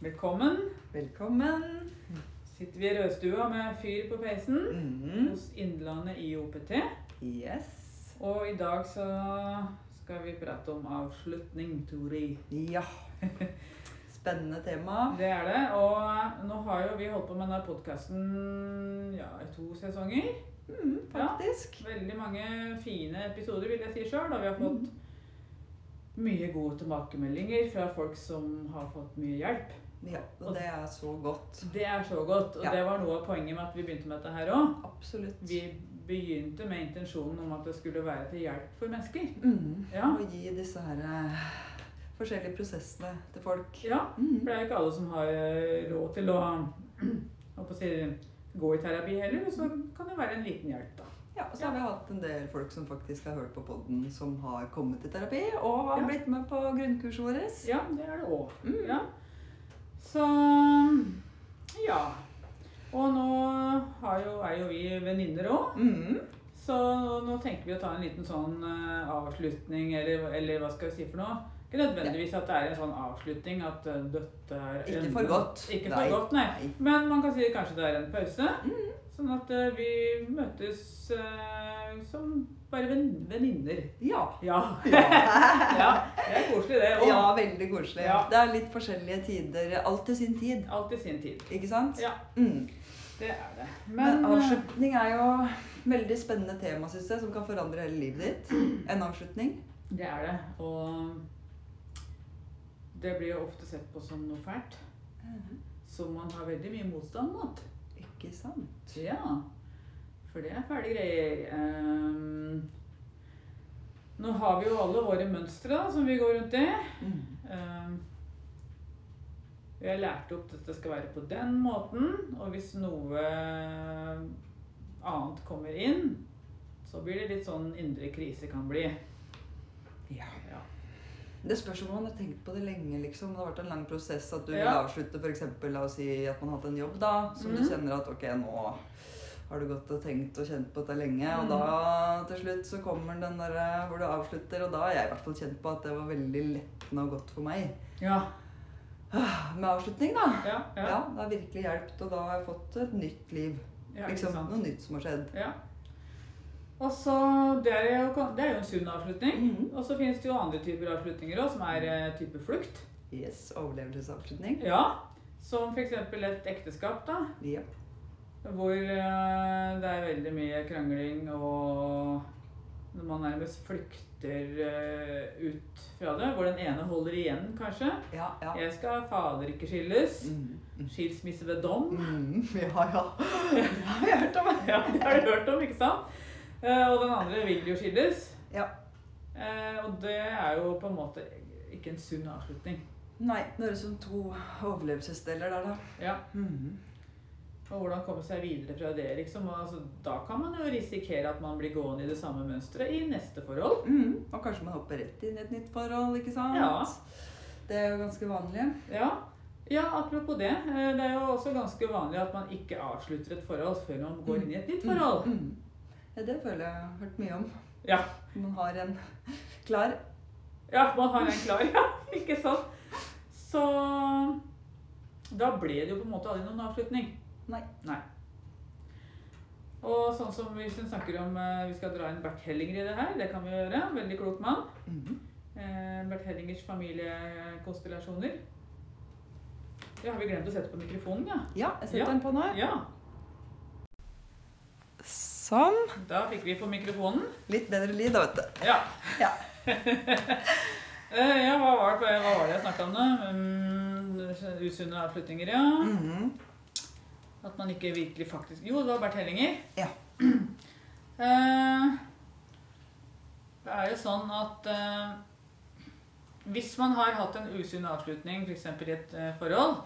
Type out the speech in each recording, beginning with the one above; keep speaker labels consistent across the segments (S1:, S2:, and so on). S1: Velkommen.
S2: Velkommen.
S1: Sitter vi i rødstua med fyr på peisen
S2: Mhm.
S1: hos Innlandet i OPT.
S2: Yes.
S1: Og i dag så skal vi prate om avslutning, Tori.
S2: Ja. Spennende tema.
S1: Det er det. Og nå har jo vi holdt på med denne podkasten ja, i to sesonger. Mm-hmm.
S2: Mhm, faktisk.
S1: Veldig mange fine episoder, vil jeg si sjøl. Og vi har fått mye gode tilbakemeldinger fra folk som har fått mye hjelp.
S2: Ja, og det er så godt.
S1: Det er så godt. Og
S2: Ja.
S1: det var noe av poenget med at vi begynte med dette her òg.
S2: Absolutt.
S1: Vi begynte med intensjonen om at det skulle være til hjelp for mennesker.
S2: Mhm.
S1: Ja.
S2: Å gi disse her eh, forskjellige prosessene til folk.
S1: ja for
S2: Mhm.
S1: det er jo ikke alle som har eh, råd til å, holdt på å si, gå i terapi heller, og så kan det være en liten hjelp, da.
S2: Ja, og så har vi hatt en del folk som faktisk har hørt på podden, som har kommet i terapi og har
S1: Ja.
S2: blitt med på grunnkurset vårt.
S1: Ja, det er det òg.
S2: Mm.
S1: Ja. Så ja. Og nå har jo, er jo vi venninner òg,
S2: Mhm.
S1: så nå tenker vi å ta en liten sånn eh, avslutning, eller, eller hva skal vi si for noe? Ikke nødvendigvis at det er en sånn avslutning at eh, dette er
S2: Ikke
S1: enden.
S2: for godt.
S1: Ikke
S2: Nei. Mm.
S1: for godt, nei.
S2: Nei.
S1: Men man kan si kanskje det er en pause. Sånn at eh, vi møtes eh, som bare ven- venninner.
S2: Ja.
S1: Ja.
S2: Ja.
S1: ja. Det er koselig, det. Og
S2: ja, veldig koselig.
S1: Ja.
S2: Det er litt forskjellige tider. Alt til sin tid,
S1: alt i sin tid.
S2: ikke sant?
S1: Ja,
S2: Mm.
S1: det er det.
S2: Men
S1: Men eh,
S2: avslutning er jo veldig spennende tema, synes jeg, som kan forandre hele livet ditt. En avslutning.
S1: det er det. Og det blir jo ofte sett på som noe fælt. Som man har veldig mye motstand mot.
S2: Ikke sant?
S1: Ja, for det er fæle greier. Ehm, nå har vi jo alle våre mønstre da, som vi går rundt i.
S2: Mm.
S1: Ehm, vi har lært opp at det skal være på den måten, og hvis noe annet kommer inn, så blir det litt sånn indre krise kan bli.
S2: Ja.
S1: Ja.
S2: Det spørs om man har tenkt på det lenge. liksom. Det har vært en lang prosess at du vil
S1: Ja.
S2: avslutte for eksempel, La oss si at man har hatt en jobb da, som du
S1: Mhm.
S2: kjenner at ok, nå har du gått og tenkt og kjent på dette lenge.
S1: Mhm.
S2: Og da til slutt så kommer den der eh, hvor du avslutter, og da har jeg i hvert fall kjent på at det var veldig lettende og godt for meg.
S1: Ja,
S2: Ah, Med avslutning, da.
S1: ja,
S2: Ja,
S1: ja.
S2: det har virkelig hjulpet, og da har jeg fått et nytt liv.
S1: ja ikke
S2: liksom,
S1: sant.
S2: Noe nytt som har skjedd.
S1: Ja. Og så, det er jo, det er jo en sunn avslutning.
S2: Mhm.
S1: Og så finnes det jo andre typer avslutninger òg, som er eh, type flukt.
S2: Yes, overlevelsesavslutning.
S1: Ja, Som f.eks. et ekteskap, da.
S2: Ja.
S1: Hvor eh, det er veldig mye krangling, og når man nærmest flykter eh, ut fra det. Hvor den ene holder igjen, kanskje.
S2: Ja, ja.
S1: Jeg skal fader ikke skilles.
S2: Mhm.
S1: Skilsmisse ved dom.
S2: Mhm. ja, ja. Det har jeg hørt om.
S1: Ja, det har du hørt om, ikke sant? Eh, Og den andre vil jo skilles.
S2: Ja.
S1: Eh, Og det er jo på en måte ikke en sunn avslutning.
S2: Nei, det høres ut som to overlevelsesdeler der, da.
S1: Ja.
S2: Mhm.
S1: Og hvordan komme seg videre fra det, liksom. Og altså, da kan man jo risikere at man blir gående i det samme mønsteret i neste forhold.
S2: Mhm. Og kanskje man hopper rett inn i et nytt forhold, ikke sant?
S1: Ja.
S2: Det er jo ganske vanlig.
S1: Ja. Ja, apropos det. eh, Det er jo også ganske vanlig at man ikke avslutter et forhold før man går inn i et nytt forhold.
S2: Mhm. Ja, det føler jeg jeg har hørt mye om.
S1: Ja.
S2: Man har en klar
S1: Ja, man har en klar, ja. Ikke sant? Så da ble det jo på en måte aldri noen avslutning.
S2: Nei.
S1: Og sånn som hvis hun snakker om eh, vi skal dra inn Bert Hellinger i det her, det kan vi gjøre. Veldig klok mann.
S2: Mhm.
S1: Eh, Bert Hellingers familiekonstellasjoner. Det har vi glemt å sette på mikrofonen, ja.
S2: Ja, jeg setter
S1: Ja.
S2: den på nå.
S1: Ja,
S2: Sånn.
S1: Da fikk vi på mikrofonen.
S2: Litt bedre lyd, da, vet du.
S1: Ja.
S2: Ja.
S1: Eh, ja, hva var det, hva var det jeg snakka om, da? Mm, Usunne avslutninger, ja.
S2: Mhm.
S1: At man ikke virkelig faktisk Jo, det var Bert Hellinger.
S2: Ja.
S1: Eh, Det er jo sånn at eh, hvis man har hatt en usunn avslutning, f.eks. i et eh, forhold,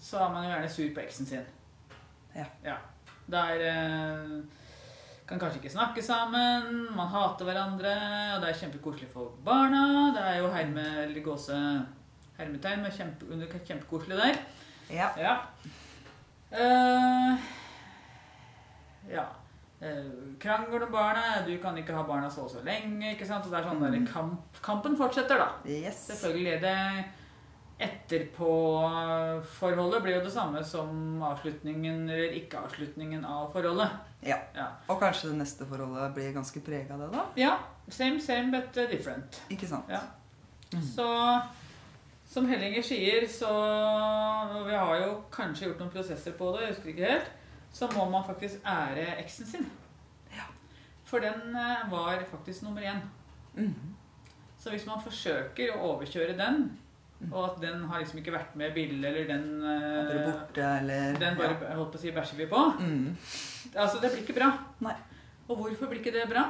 S1: så er man jo gjerne sur på eksen sin.
S2: Ja.
S1: Der eh, kan kanskje ikke snakke sammen, man hater hverandre, og det er kjempekoselig for barna. Det er jo herme, eller gåse, hermetegn med kjempe, under kjempekoselig der.
S2: Ja.
S1: Ja. Eh, ja. Eh, krangel om barna, du kan ikke ha barna så og så lenge. ikke sant? Og det er sånn der kamp, Kampen fortsetter, da.
S2: Yes.
S1: Selvfølgelig. Det, etterpå-forholdet blir jo det samme som avslutningen eller ikke-avslutningen av forholdet.
S2: Ja.
S1: Ja.
S2: Og kanskje det neste forholdet blir ganske prega av det, da?
S1: ja. Same, same, but uh, different.
S2: Ikke sant?
S1: Ja.
S2: Mhm.
S1: Så som Hellinger sier, så og Vi har jo kanskje gjort noen prosesser på det, jeg husker ikke helt. Så må man faktisk ære eksen sin. For den eh, var faktisk nummer én.
S2: Mhm.
S1: Så hvis man forsøker å overkjøre den, og at den har liksom ikke vært med i bildet, eller den
S2: Mm. At dere
S1: eh,
S2: er borte, eller
S1: Den bare jeg holdt på å si, bæsjer vi på.
S2: ja. Mhm.
S1: Altså, det blir ikke bra.
S2: Nei.
S1: Og hvorfor blir ikke det bra?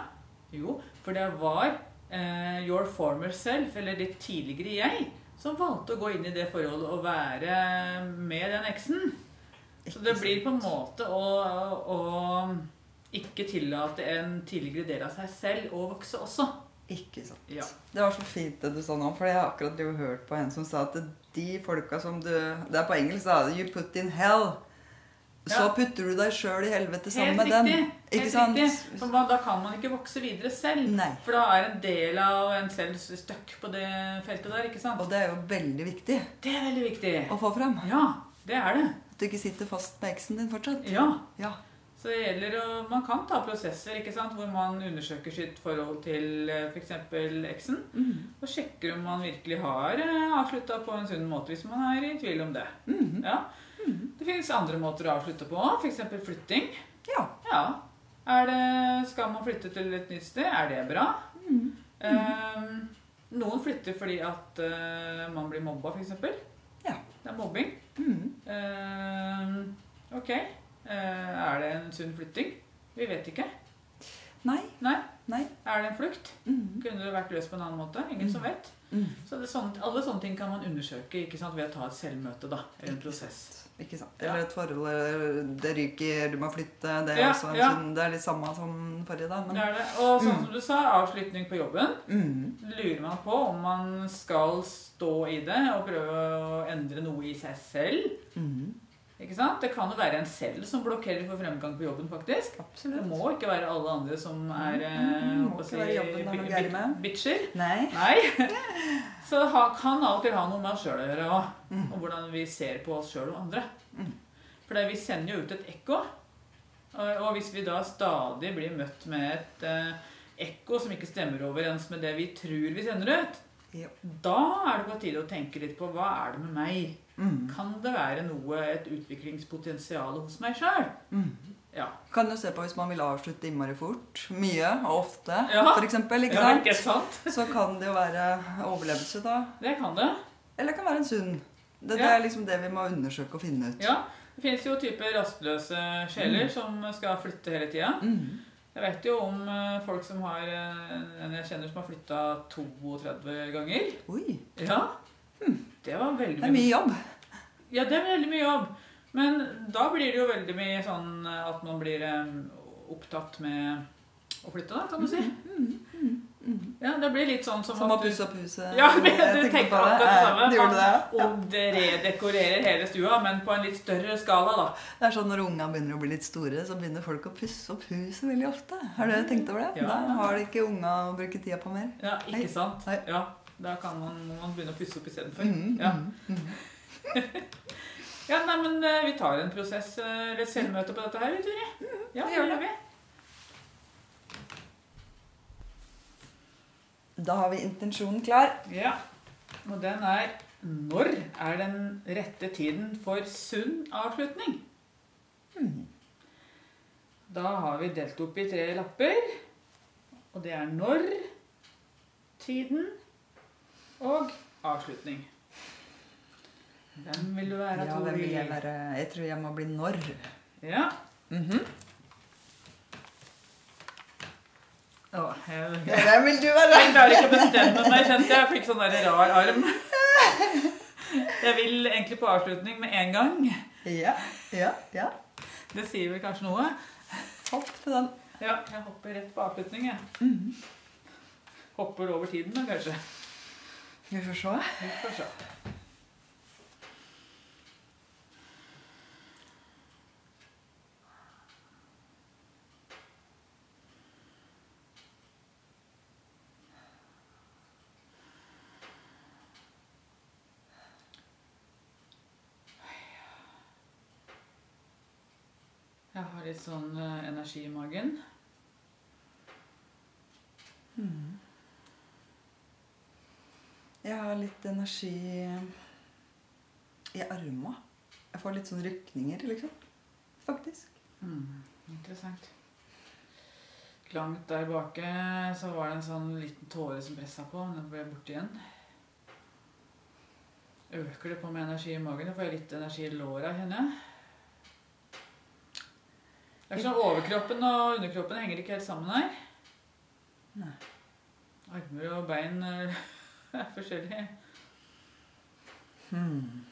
S1: Jo, for det var eh, your former self, eller ditt tidligere jeg, som valgte å gå inn i det forholdet og være med den eksen. Så det blir på en måte å, å ikke tillate en tidligere del av seg selv å vokse også.
S2: Ikke sant.
S1: Ja.
S2: Det var så fint det du sa nå, for jeg har akkurat jo hørt på en som sa at de folka som du Det er på engelsk, da. You put in hell. Så
S1: Ja.
S2: putter du deg sjøl i helvete sammen
S1: Helt
S2: med
S1: riktig.
S2: den. Ikke
S1: Helt
S2: sant?
S1: riktig. For man- da kan man ikke vokse videre selv.
S2: Nei.
S1: For da er en del av en selv stuck på det feltet der, ikke sant?
S2: Og det er jo veldig viktig
S1: Det er veldig viktig.
S2: å få fram.
S1: Ja, det er det.
S2: At du ikke sitter fast med eksen din fortsatt.
S1: Ja.
S2: Ja.
S1: Så det gjelder å Man kan ta prosesser ikke sant? hvor man undersøker sitt forhold til f.eks. eksen.
S2: Mhm.
S1: Og sjekker om man virkelig har avslutta på en sunn måte, hvis man er i tvil om det.
S2: Mhm.
S1: Ja. Det finnes andre måter å avslutte på, f.eks. flytting.
S2: ja.
S1: Ja. Er det, skal man flytte til et nytt sted? Er det bra?
S2: Mhm.
S1: Ehm, noen flytter fordi at eh, man blir mobba, f.eks.
S2: Ja.
S1: Det er mobbing.
S2: Mhm.
S1: Ehm, ok. Eh, er det en sunn flytting? Vi vet ikke.
S2: Nei.
S1: Nei.
S2: Nei.
S1: Er det en flukt?
S2: Mhm.
S1: Kunne det vært løst på en annen måte? Ingen som vet.
S2: Mhm.
S1: Så det er sånne, Alle sånne ting kan man undersøke ikke sant? ved å ta et selvmøte. da, eller en prosess.
S2: Ikke sant.
S1: Ja.
S2: Eller et forhold eller det ryker, du må flytte Det er,
S1: Ja,
S2: også en
S1: ja.
S2: sånn, det er litt samme som forrige, da.
S1: Det
S2: Men,
S1: er det. Og sånn
S2: Mm.
S1: som du sa, avslutning på jobben.
S2: Mhm.
S1: Lurer man på om man skal stå i det og prøve å endre noe i seg selv.
S2: Mhm.
S1: Ikke sant? Det kan jo være en selv som blokkerer for fremgang på jobben, faktisk. Det
S2: Absolutt.
S1: må ikke være alle andre som er eh,
S2: Mm, må
S1: hva
S2: ikke
S1: skal
S2: være
S1: jeg si,
S2: jobben det er noe
S1: bi- bi-
S2: gærent med.
S1: Bitcher.
S2: Nei.
S1: Nei. Så det ha- kan av og til ha noe med oss sjøl å gjøre òg.
S2: Mm.
S1: Og hvordan vi ser på oss sjøl og andre.
S2: Mm.
S1: For det- vi sender jo ut et ekko. Og og hvis vi da stadig blir møtt med et eh, ekko som ikke stemmer overens med det vi tror vi sender ut,
S2: Ja.
S1: da er det på tide å tenke litt på hva er det med meg?
S2: Mhm.
S1: Kan det være noe, et utviklingspotensial hos meg sjøl?
S2: Mhm.
S1: Ja.
S2: Kan du se på hvis man vil avslutte innmari fort, mye og ofte,
S1: Ja.
S2: for eksempel, ikke
S1: Ja,
S2: sant?
S1: ikke sant?
S2: Så kan det jo være overlevelse, da.
S1: Det kan det.
S2: Eller det kan være en sunn. Det, det
S1: Ja.
S2: er liksom det vi må undersøke og finne ut.
S1: Ja. Det fins jo typer rastløse sjeler
S2: Mm.
S1: som skal flytte hele tida.
S2: Mhm.
S1: Jeg vet jo om eh, folk som har eh, en jeg kjenner som har flytta 32 ganger.
S2: Oi,
S1: Ja. Hm, Det var veldig
S2: det er mye jobb.
S1: Ja, det er veldig mye jobb. Men da blir det jo veldig mye sånn eh, at man blir eh, opptatt med å flytte, da, kan du si.
S2: Mm,
S1: Ja, det blir litt sånn som,
S2: Som å
S1: at du
S2: pusse opp huset.
S1: Ja, men
S2: Jeg
S1: du tenker
S2: på
S1: akkurat det
S2: Eh,
S1: samme.
S2: Du gjorde det.
S1: om det redekorerer hele stua, men på en litt større skala, da.
S2: Det er sånn Når ungene begynner å bli litt store, så begynner folk å pusse opp huset veldig ofte. Har dere tenkt over det?
S1: Ja.
S2: Da har de ikke unga å bruke tida på mer.
S1: Ja,
S2: Nei.
S1: ikke sant?
S2: Nei.
S1: Ja, Da kan man, må man begynne å pusse opp istedenfor.
S2: Mhm,
S1: Ja.
S2: mhm, mhm.
S1: Ja, nei, men eh, vi tar en prosess eh, eller et selvmøte på dette her, vi, Turi. Ja, det
S2: vi Mm-hmm. gjør
S1: gjør vi.
S2: Da har vi intensjonen klar.
S1: Ja. Og den er Når er den rette tiden for sunn avslutning?
S2: Mm-hmm.
S1: Da har vi delt opp i tre lapper. Og det er når, tiden og avslutning. Hvem vil du
S2: Ja,
S1: være,
S2: hvem vil jeg være? Jeg tror jeg må bli når.
S1: Ja,
S2: Mhm.
S1: Å, jeg,
S2: Hvem vil du være?
S1: Jeg klarer ikke å bestemme meg, kjente jeg. Jeg fikk sånn der rar arm. Jeg vil egentlig på avslutning med en gang.
S2: Ja, ja, ja.
S1: Det sier vel kanskje noe?
S2: Hopp til den.
S1: Ja, jeg hopper rett på avslutning, jeg. Hopper over tiden, da, kanskje.
S2: Vi får se.
S1: Vi får se. Jeg har litt sånn eh, energi i magen.
S2: Jeg har litt energi i arma. Jeg får litt sånn rykninger, liksom. Faktisk.
S1: Mm, interessant. Langt der bake så var det en sånn liten tåre som pressa på, men den ble borte igjen. Øker det på med energi i magen? Da får jeg litt energi i låra, kjenner jeg. Det er sånn Overkroppen og underkroppen henger ikke helt sammen her.
S2: Nei.
S1: Armer og bein er er forskjellig.
S2: Hmm.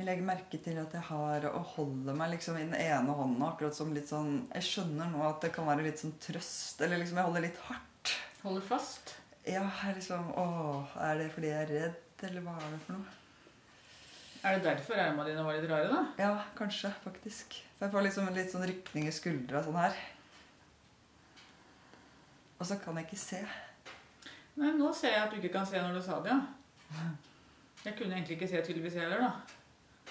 S2: Jeg legger merke til at jeg har å holde meg liksom i den ene hånda. akkurat som litt sånn, Jeg skjønner nå at det kan være litt sånn trøst. Eller liksom jeg holder litt hardt.
S1: Holder fast.
S2: Ja, jeg er liksom Å, er det fordi jeg er redd, eller hva er det for noe?
S1: Er det derfor armene dine var litt rare, da?
S2: Ja, kanskje, faktisk. For jeg får liksom en litt sånn rykning i skuldra sånn her. Og så kan jeg ikke se.
S1: Nei, nå ser jeg at du ikke kan se når du sa det, ja. Jeg kunne egentlig ikke se tydeligvis jeg heller, da.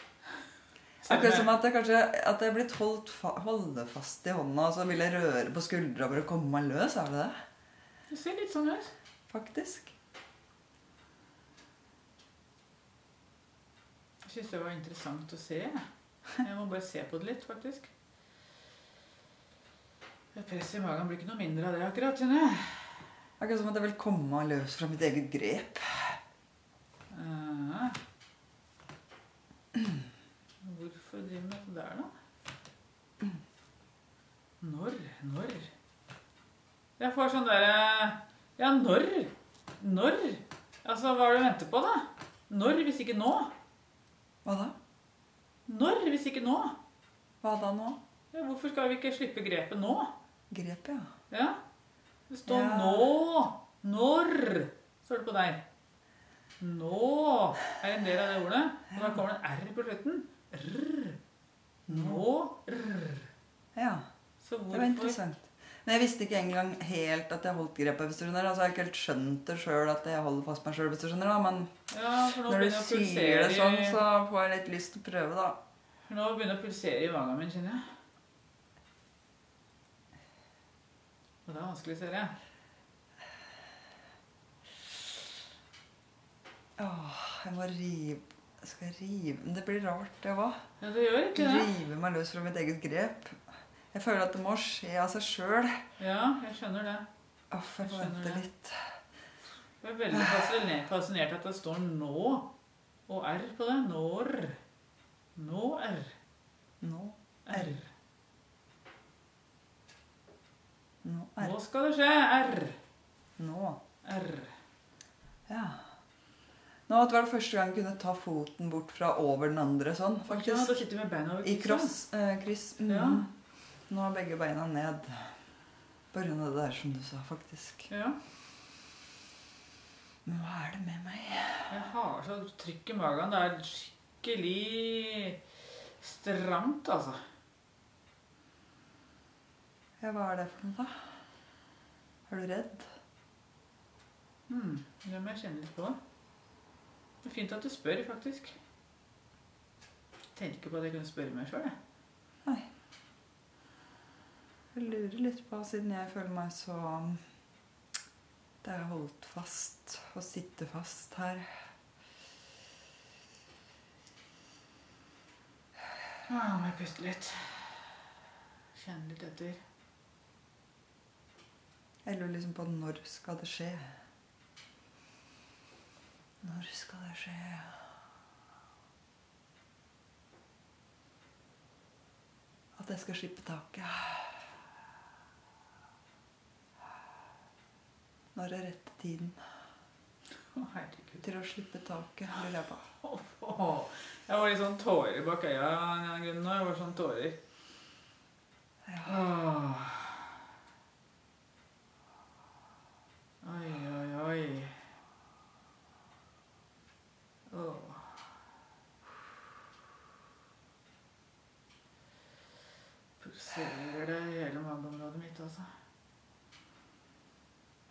S1: Selv om
S2: Akkurat
S1: jeg-
S2: som at jeg kanskje at jeg er blitt holdt fa holde fast i hånda, og så vil jeg røre på skuldra for å komme meg løs. Er det det?
S1: Det ser litt sånn ut.
S2: Faktisk.
S1: Jeg syns det var interessant å se. jeg. Jeg må bare se på det litt, faktisk. Det Presset i magen blir ikke noe mindre av det, akkurat. kjenner jeg.
S2: Akkurat som at jeg vil komme meg løs fra mitt eget grep.
S1: Eh. Hvorfor driver vi med det der, da? Når? Når? Jeg får sånn derre Ja, når? Når? Altså, hva er det du venter på, da? Når, hvis ikke nå?
S2: Hva da?
S1: Når, hvis ikke nå?
S2: Hva da nå?
S1: Ja, hvorfor skal vi ikke slippe grepet nå?
S2: Grepet, ja.
S1: Ja. Det står
S2: Ja.
S1: nå. Når, står det på deg. Nå er en del av det ordet. Og da kommer det en R på slutten. Rr. Nå. Rr.
S2: Ja,
S1: Så
S2: Det var
S1: hvorfor
S2: interessant. Men jeg visste ikke engang helt at jeg holdt grepet. hvis du skjønner. Altså, jeg har ikke helt skjønt det sjøl at jeg holder fast meg sjøl, hvis du skjønner. Da. Men
S1: Ja, for nå
S2: når du
S1: begynner, å
S2: sier
S1: pulsere,
S2: det sånn,
S1: i-
S2: så får jeg litt lyst til å prøve, da.
S1: nå begynner det å pulsere i magen min, kjenner jeg. Og det er vanskelig, ser jeg.
S2: Åh, jeg må rive jeg Skal jeg rive Men Det blir rart, det òg.
S1: Ja, det gjør ikke det.
S2: Rive meg løs fra mitt eget grep. Jeg føler at det må skje av seg sjøl.
S1: Ja, jeg skjønner det.
S2: Uff, jeg
S1: Jeg
S2: får
S1: skjønner
S2: vente
S1: det.
S2: litt.
S1: Jeg er veldig fascinert, fascinert at det står nå og R på det. Når. Nå R.
S2: Nå,
S1: R.
S2: nå, er
S1: Nå skal det skje. R.
S2: nå.
S1: R.
S2: Ja. Nå at det var det første gang jeg kunne ta foten bort fra over den andre sånn,
S1: Ja,
S2: faktisk.
S1: da sitter vi med beina over
S2: I
S1: krysset.
S2: kross, eh, kryss. Mm.
S1: Ja.
S2: Nå er begge beina ned. På grunn av det der som du sa, faktisk.
S1: Ja.
S2: Men hva er det med meg?
S1: Jeg har så trykk i magen. Det er skikkelig stramt, altså.
S2: Ja, hva er det for noe, da? Er du redd?
S1: Hmm. Det må jeg kjenne litt på. Det er fint at du spør, faktisk. Jeg tenkte ikke på at jeg kunne spørre meg sjøl, jeg.
S2: Jeg lurer litt på, siden jeg føler meg så Det er holdt fast og sitte fast her.
S1: Ja, Ah, må jeg puste litt. Kjenne litt etter.
S2: Jeg lurer liksom på når skal det skje? Når skal det skje? At jeg skal slippe taket. Når er rette tiden
S1: Å, herregud.
S2: til å slippe taket? lurer jeg på.
S1: Åh, Jeg var litt sånn tårer bak øya av en eller annen grunn nå. Jeg var sånn tårer. Åh. Oi, oi, oi. Åh. Pulserer det i hele mageområdet mitt, altså.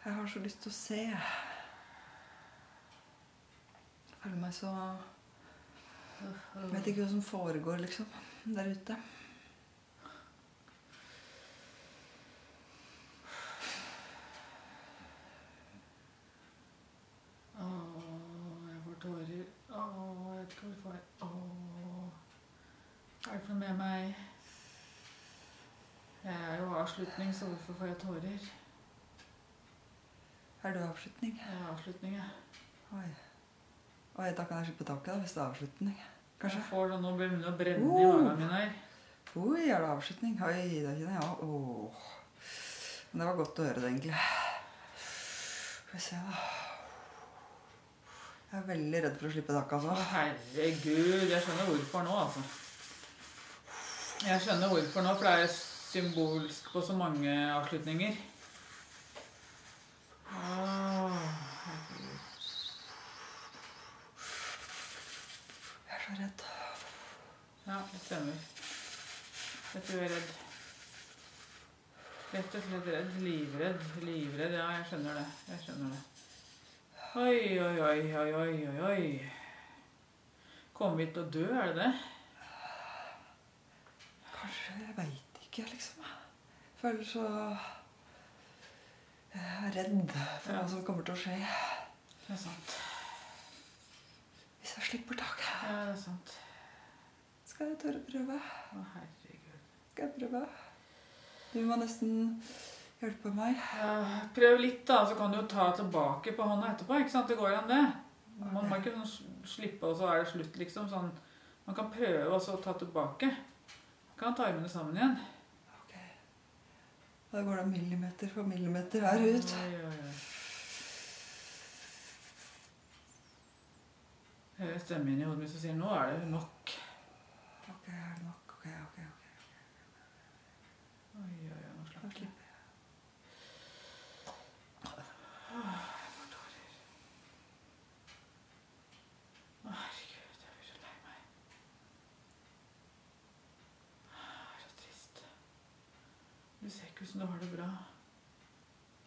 S2: Jeg har så lyst til å se. Jeg føler meg så Jeg vet ikke hva som foregår, liksom, der ute.
S1: Åh, jeg vet ikke hvorfor. Åh. Hva er det for noe med meg? Jeg er jo avslutning, så hvorfor får jeg tårer?
S2: Er du avslutning?
S1: Jeg er avslutning, jeg.
S2: Oi. Oi, da kan jeg slippe taket, da, hvis det er avslutning. Kanskje.
S1: Jeg får sånn, nå begynner det å brenne i
S2: Oh.
S1: magen min her.
S2: Oi, er det avslutning? Oi, da kjenner jeg òg Åh. Men det var godt å høre det, egentlig. Skal vi se, da. Jeg er veldig redd for å slippe taket,
S1: Å,
S2: altså.
S1: herregud. Jeg skjønner hvorfor nå, altså. Jeg skjønner hvorfor nå, for det er symbolsk på så mange avslutninger. Åh, herregud.
S2: Jeg er så redd.
S1: Ja, det stemmer. Jeg tror jeg er redd. Rett og slett redd. Livredd. Livredd, ja, jeg skjønner det. Jeg skjønner det. Oi, oi, oi, oi, oi, oi, oi. Komme hit og dø, er det det?
S2: Kanskje Jeg veit ikke, liksom. Jeg føler så Jeg er redd for
S1: Ja.
S2: hva som kommer til å skje
S1: Det er sant.
S2: hvis jeg slipper taket.
S1: Ja, det er sant.
S2: Skal jeg tørre å prøve?
S1: Å, herregud.
S2: Skal jeg prøve? Du må nesten hjelpe meg.
S1: Ja, prøv litt, da, så kan du jo ta tilbake på hånda etterpå. ikke sant? Det går an, det. Man må ikke sånn s- slippe, og så er det slutt, liksom. sånn. Man kan prøve, og så ta tilbake. Man kan ta armene sammen igjen.
S2: Ok. Da går det millimeter for millimeter her ut.
S1: Oi, oi, oi. Jeg hører stemmen inn i hodet mitt som sier 'nå er det nok'.
S2: Ok, er det nok? Ok, ok. ok.
S1: Oi, oi, oi, nå slapp
S2: Da
S1: jeg.
S2: slipper jeg.
S1: Å, herregud, jeg blir så lei meg. Å, Ah, Så trist. Du ser ikke ut som du har det bra.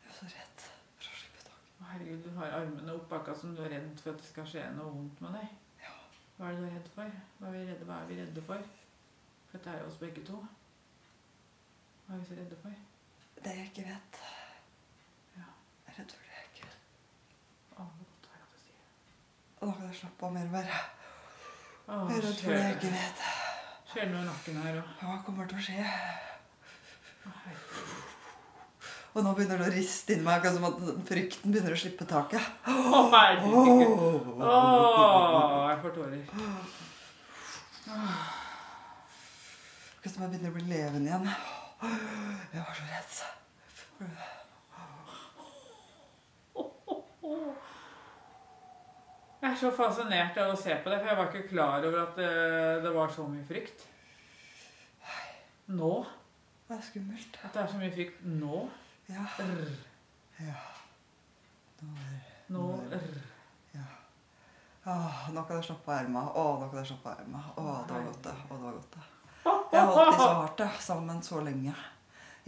S2: Jeg er så redd for å slippe
S1: Å,
S2: taket.
S1: herregud, du har armene opp akkurat som du er redd for at det skal skje noe vondt med deg.
S2: Ja.
S1: Hva er det du er redd for? Hva er vi redde, hva er vi redde for? For dette er jo oss begge to. Hva er vi så redde for?
S2: Det jeg ikke vet.
S1: Ja.
S2: Jeg er redd for det jeg ikke vet.
S1: Å, det er godt å høre at du sier det.
S2: Og da kan jeg slappe av mer og mer.
S1: Å,
S2: Jeg er redd for det jeg
S1: skjønner.
S2: ikke vet.
S1: Skjer det noe i nakken her òg?
S2: Hva kommer til å skje? Og nå begynner det å riste inni meg, akkurat som at frykten begynner å slippe taket.
S1: Å, herregud! Å,
S2: Åh.
S1: jeg får tårer.
S2: Akkurat som jeg begynner å bli levende igjen. Jeg var så redd.
S1: Jeg er så fascinert av å se på det, for jeg var ikke klar over at det, det var så mye frykt. Nå.
S2: Det er skummelt.
S1: At det er så mye frykt nå.
S2: Ja.
S1: Rr.
S2: ja. Nå er
S1: Nå.
S2: Nå.
S1: Rr.
S2: Åh, nå kan jeg slappe av erma. Åh, nå kan jeg slappe av erma. Åh, det var godt, det. Åh, det var godt, det. Jeg har holdt de så hardt, det. Sammen så lenge.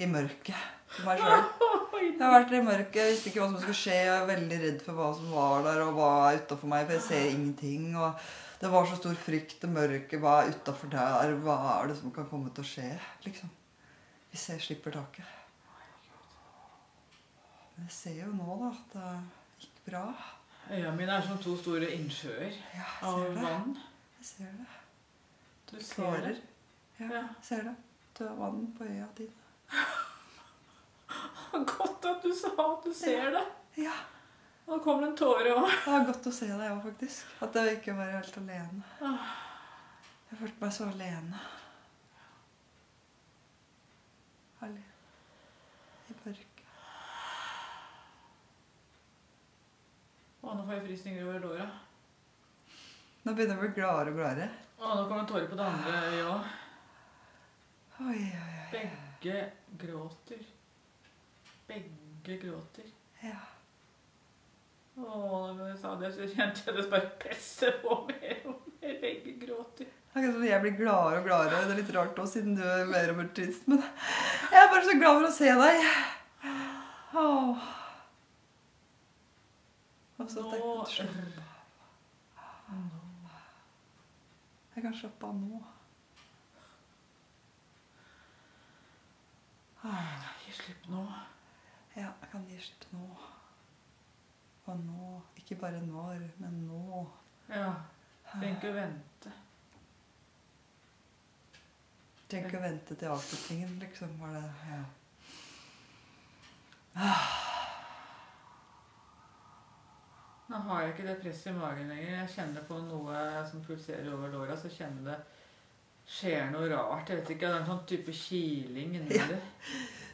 S2: I mørket. For meg selv. Jeg har vært i mørket, jeg visste ikke hva som skulle skje. Jeg er veldig redd for hva som var der, og hva er utafor meg. For jeg ser ingenting. Og det var så stor frykt. Det mørke. Hva er utafor der? Hva er det som kan komme til å skje? Liksom. Hvis jeg slipper taket. Men jeg ser jo nå, da, at det gikk bra.
S1: Øya mine er som to store innsjøer
S2: Ja,
S1: av
S2: jeg ser det.
S1: vann.
S2: Jeg ser det.
S1: Du ser det.
S2: Tårer. Ja,
S1: Ja.
S2: ser det. Du har vann på øya di.
S1: Godt at du sa at du ser det.
S2: Ja,
S1: Nå kom det en tåre òg.
S2: det var godt å se deg òg, faktisk. At jeg ikke var helt alene. Jeg følte meg så alene. Alene. I mørket.
S1: Å, nå får jeg frysninger over låra.
S2: Nå begynner jeg å bli gladere og gladere.
S1: Å, nå kom en tåre på det andre øyet òg.
S2: Oi, oi, oi.
S1: Begge gråter. Begge gråter.
S2: Ja.
S1: Å, da jeg sa det, så kjente jeg det bare presse på mer og mer. Begge gråter.
S2: Det er Akkurat som jeg blir gladere og gladere. Det er litt rart også, siden du er mer og mer trist. Men jeg er bare så glad for å se deg. Åh. Og så at jeg kan slappe Jeg kan slappe av nå. Ah,
S1: Gi slipp nå.
S2: Ja, jeg kan gi slipp nå. Og nå. Ikke bare når, men nå.
S1: Ja. Tenk å vente.
S2: Trenger ikke å vente til avslutningen, liksom. Var det, ja.
S1: Nå har jeg ikke det presset i magen lenger. Jeg kjenner på noe som pulserer over låra, så kjenner det skjer noe rart. Jeg vet ikke, Det er en sånn type kiling inni
S2: Ja.
S1: det.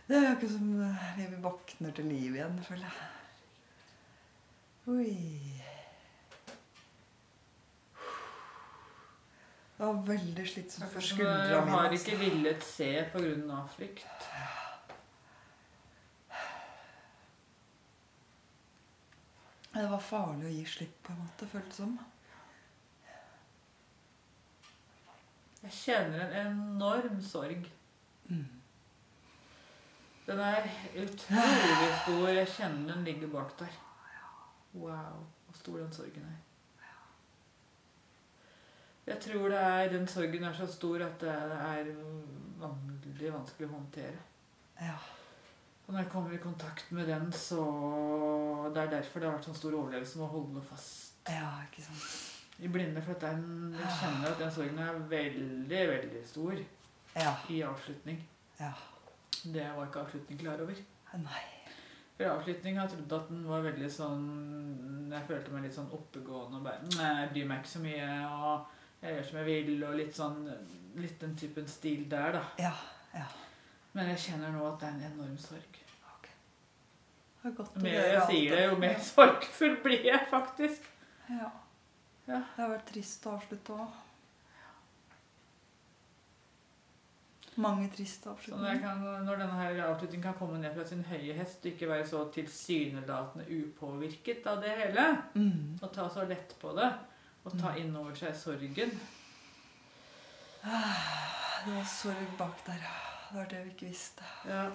S2: det er jo ikke som eh, vi våkner til liv igjen, føler jeg. Oi. Det var veldig slitsomt for skuldra
S1: Jeg
S2: mine.
S1: har
S2: altså.
S1: ikke villet se pga. frykt.
S2: Det var farlig å gi slipp, på en måte, føltes som.
S1: Jeg kjenner en enorm sorg.
S2: Mm.
S1: Den er utrolig stor. Jeg kjenner den ligger bak der. Wow, hvor stor den sorgen er. Jeg tror det er, den sorgen er så stor at det er veldig vanskelig å håndtere.
S2: Ja.
S1: Og når jeg kommer i kontakt med den, så Det er derfor det har vært sånn stor overlevelse med å holde fast
S2: ja, ikke sant.
S1: i blinde. For at den, jeg kjenner at den sorgen er veldig, veldig stor
S2: Ja.
S1: i avslutning.
S2: Ja.
S1: Det var ikke avslutning klar over.
S2: Nei.
S1: For avslutning har jeg trodd at den var veldig sånn Jeg følte meg litt sånn oppegående og bare Nei, jeg bryr meg ikke så mye, og jeg gjør som jeg vil, og litt sånn Litt den typen stil der, da.
S2: Ja. Ja.
S1: Men jeg kjenner nå at det er en enorm sorg.
S2: Ok. Det var godt
S1: Jo
S2: å
S1: mer
S2: høre
S1: jeg
S2: alt
S1: sier det,
S2: dette.
S1: jo mer sorgfull blir jeg faktisk.
S2: Ja.
S1: Ja.
S2: Det har vært trist å avslutte òg. Mange
S1: Så
S2: triste
S1: når, Sånn jeg
S2: avslutninger.
S1: kan, når denne her avslutningen kan komme ned fra sin høye hest og ikke være så tilsynelatende upåvirket av det hele,
S2: Mm.
S1: og ta så lett på det, og ta inn over seg sorgen
S2: Det var sorg bak der. Det var det vi ikke visste.
S1: ja.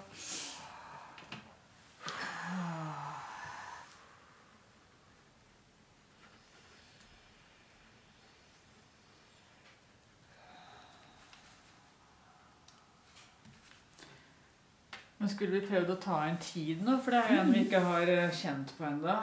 S1: Men skulle vi prøvd å ta inn tid nå, for det er en vi ikke har eh, kjent på ennå.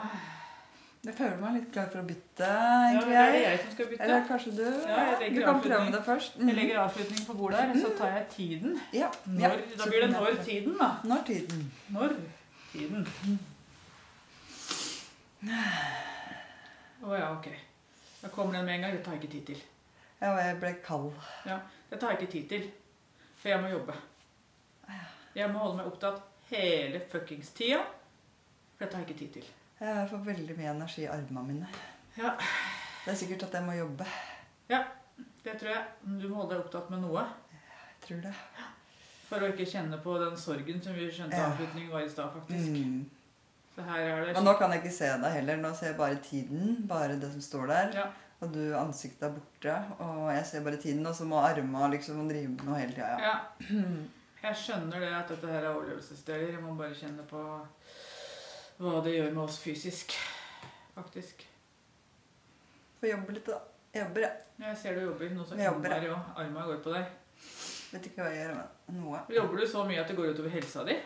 S2: Jeg føler meg litt klar for å bytte,
S1: Ja,
S2: egentlig.
S1: det er
S2: jeg.
S1: jeg som skal bytte.
S2: Eller kanskje du?
S1: jeg legger
S2: du kan prøve
S1: avslutning.
S2: det først. Mm.
S1: Jeg legger avslutningen på bordet her, så tar jeg tiden.
S2: Ja. ja.
S1: Når, da blir det når tiden, da.
S2: Når tiden.
S1: Når tiden. Å ja, ok. Da kommer den med en gang. Det tar jeg ikke tid til.
S2: Ja, og jeg ble kald.
S1: Det tar jeg ikke tid til. For jeg må jobbe. Jeg må holde meg opptatt hele fuckings tida. For det tar jeg ikke tid til.
S2: Jeg får veldig mye energi i armene mine.
S1: Ja.
S2: Det er sikkert at jeg må jobbe.
S1: Det tror jeg. Du må holde deg opptatt med noe.
S2: Jeg tror det.
S1: For å ikke kjenne på den sorgen som vi skjønte
S2: Ja.
S1: avslutningen var i stad, faktisk.
S2: Mm.
S1: Så her er det
S2: Men nå kan jeg ikke se deg heller. Nå ser jeg bare tiden, bare det som står der.
S1: Ja.
S2: Og du, ansiktet er borte, og jeg ser bare tiden. Og så må arma liksom drive med noe hele tida. Ja.
S1: Ja. Jeg skjønner det at dette her er overlevelsesdeler. Jeg må bare kjenne på hva det gjør med oss fysisk. Faktisk.
S2: Få jobbe litt, da. Jeg jobber, jeg.
S1: Jeg ser du jobber. Noe som
S2: Jeg jobber, ja.
S1: innmari også. Arma går på deg.
S2: Vet ikke hva jeg gjør, men noe.
S1: Jobber du så mye at det går utover helsa di?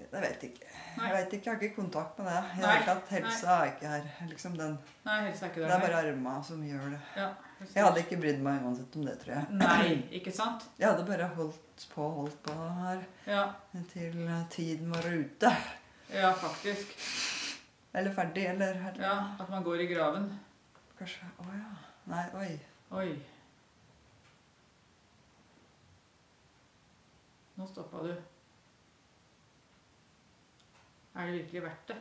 S2: Jeg vet ikke.
S1: Nei.
S2: Jeg vet ikke, jeg har ikke kontakt med det. Jeg
S1: Nei.
S2: vet at Helsa er ikke her. liksom den.
S1: Nei, helsa er ikke
S2: Det
S1: der.
S2: er bare arma som gjør det.
S1: Ja, helsa-
S2: Jeg hadde ikke brydd meg uansett om det, tror jeg.
S1: Nei, ikke sant?
S2: Jeg hadde bare holdt på og holdt på her
S1: Ja,
S2: til tiden var ute.
S1: ja faktisk.
S2: Eller ferdig, eller, eller.
S1: Ja, At man går i graven.
S2: Kanskje Å ja. Nei, oi.
S1: Oi. Nå stoppa du. Er det virkelig verdt det?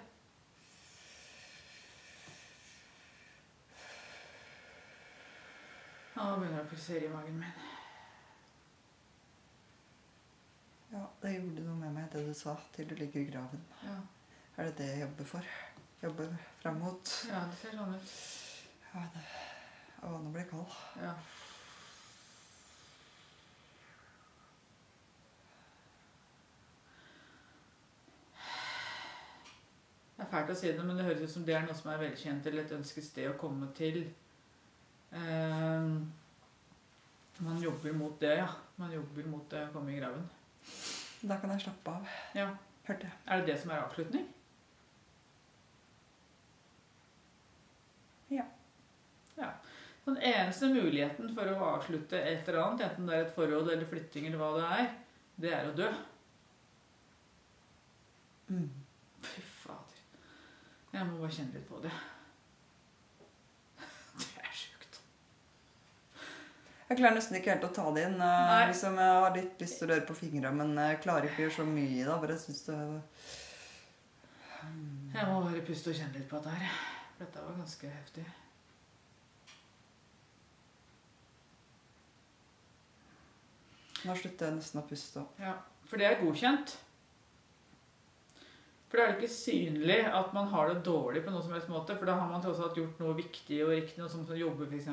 S1: Nå begynner det å pulsere i magen min.
S2: Ja, det gjorde noe med meg, det du sa, til du ligger i graven.
S1: Ja,
S2: Er det det jeg jobber for? Jobber fram mot
S1: ja det ser sånn ut.
S2: ja, det. Å, nå ble jeg kald.
S1: Ja. Det er fælt å si det, men det høres ut som det er noe som er velkjent eller et ønsket sted å komme til. Ehm, man jobber mot det, ja. Man jobber mot det å komme i graven.
S2: Da kan jeg slappe av.
S1: Ja.
S2: Hørte jeg.
S1: Er det det som er avslutning?
S2: Ja.
S1: Ja. Den eneste muligheten for å avslutte et eller annet, enten det er et forhold eller flytting eller hva det er, det er å dø.
S2: Mm.
S1: Fy fader. Jeg må bare kjenne litt på det. Det er sjukt.
S2: Jeg klarer nesten ikke helt å ta det inn. eh,
S1: Nei.
S2: Liksom, jeg har litt lyst til å røre på fingra, men jeg klarer ikke å gjøre så mye i det. Bare synes det
S1: Jeg må bare puste og kjenne litt på dette her. For Dette var ganske heftig.
S2: Nå slutter jeg nesten å puste. og-
S1: Ja, For det er godkjent. For da er det ikke synlig at man har det dårlig på noen som helst måte. For da har man tross alt gjort noe viktig og riktig, noe som som jobber f.eks.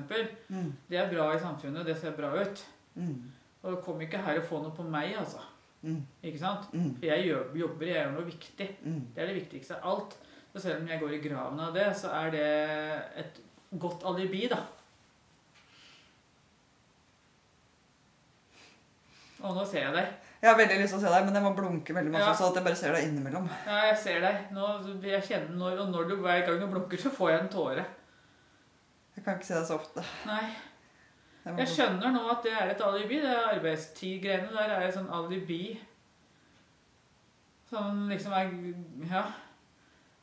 S2: Mm.
S1: Det er bra i samfunnet, det ser bra ut.
S2: Mm.
S1: Og kom ikke her og få noe på meg, altså.
S2: Mm.
S1: Ikke sant?
S2: Mm.
S1: For jeg gjør- jobber, jeg gjør noe viktig.
S2: Mm.
S1: Det er det viktigste av alt. Så selv om jeg går i graven av det, så er det et godt alibi, da. Å, nå ser jeg deg.
S2: Jeg har veldig lyst til å se deg, men jeg må blunke veldig masse,
S1: Ja.
S2: så at jeg bare ser deg innimellom.
S1: Ja, jeg ser deg. Nå, jeg kjenner når, og når du hver gang du blunker, så får jeg en tåre.
S2: Jeg kan ikke se deg så ofte.
S1: Nei.
S2: Jeg må
S1: Jeg
S2: blunke.
S1: skjønner nå at det er et alibi. Det er arbeidstid-greiene der er et sånn alibi. Som liksom er Ja.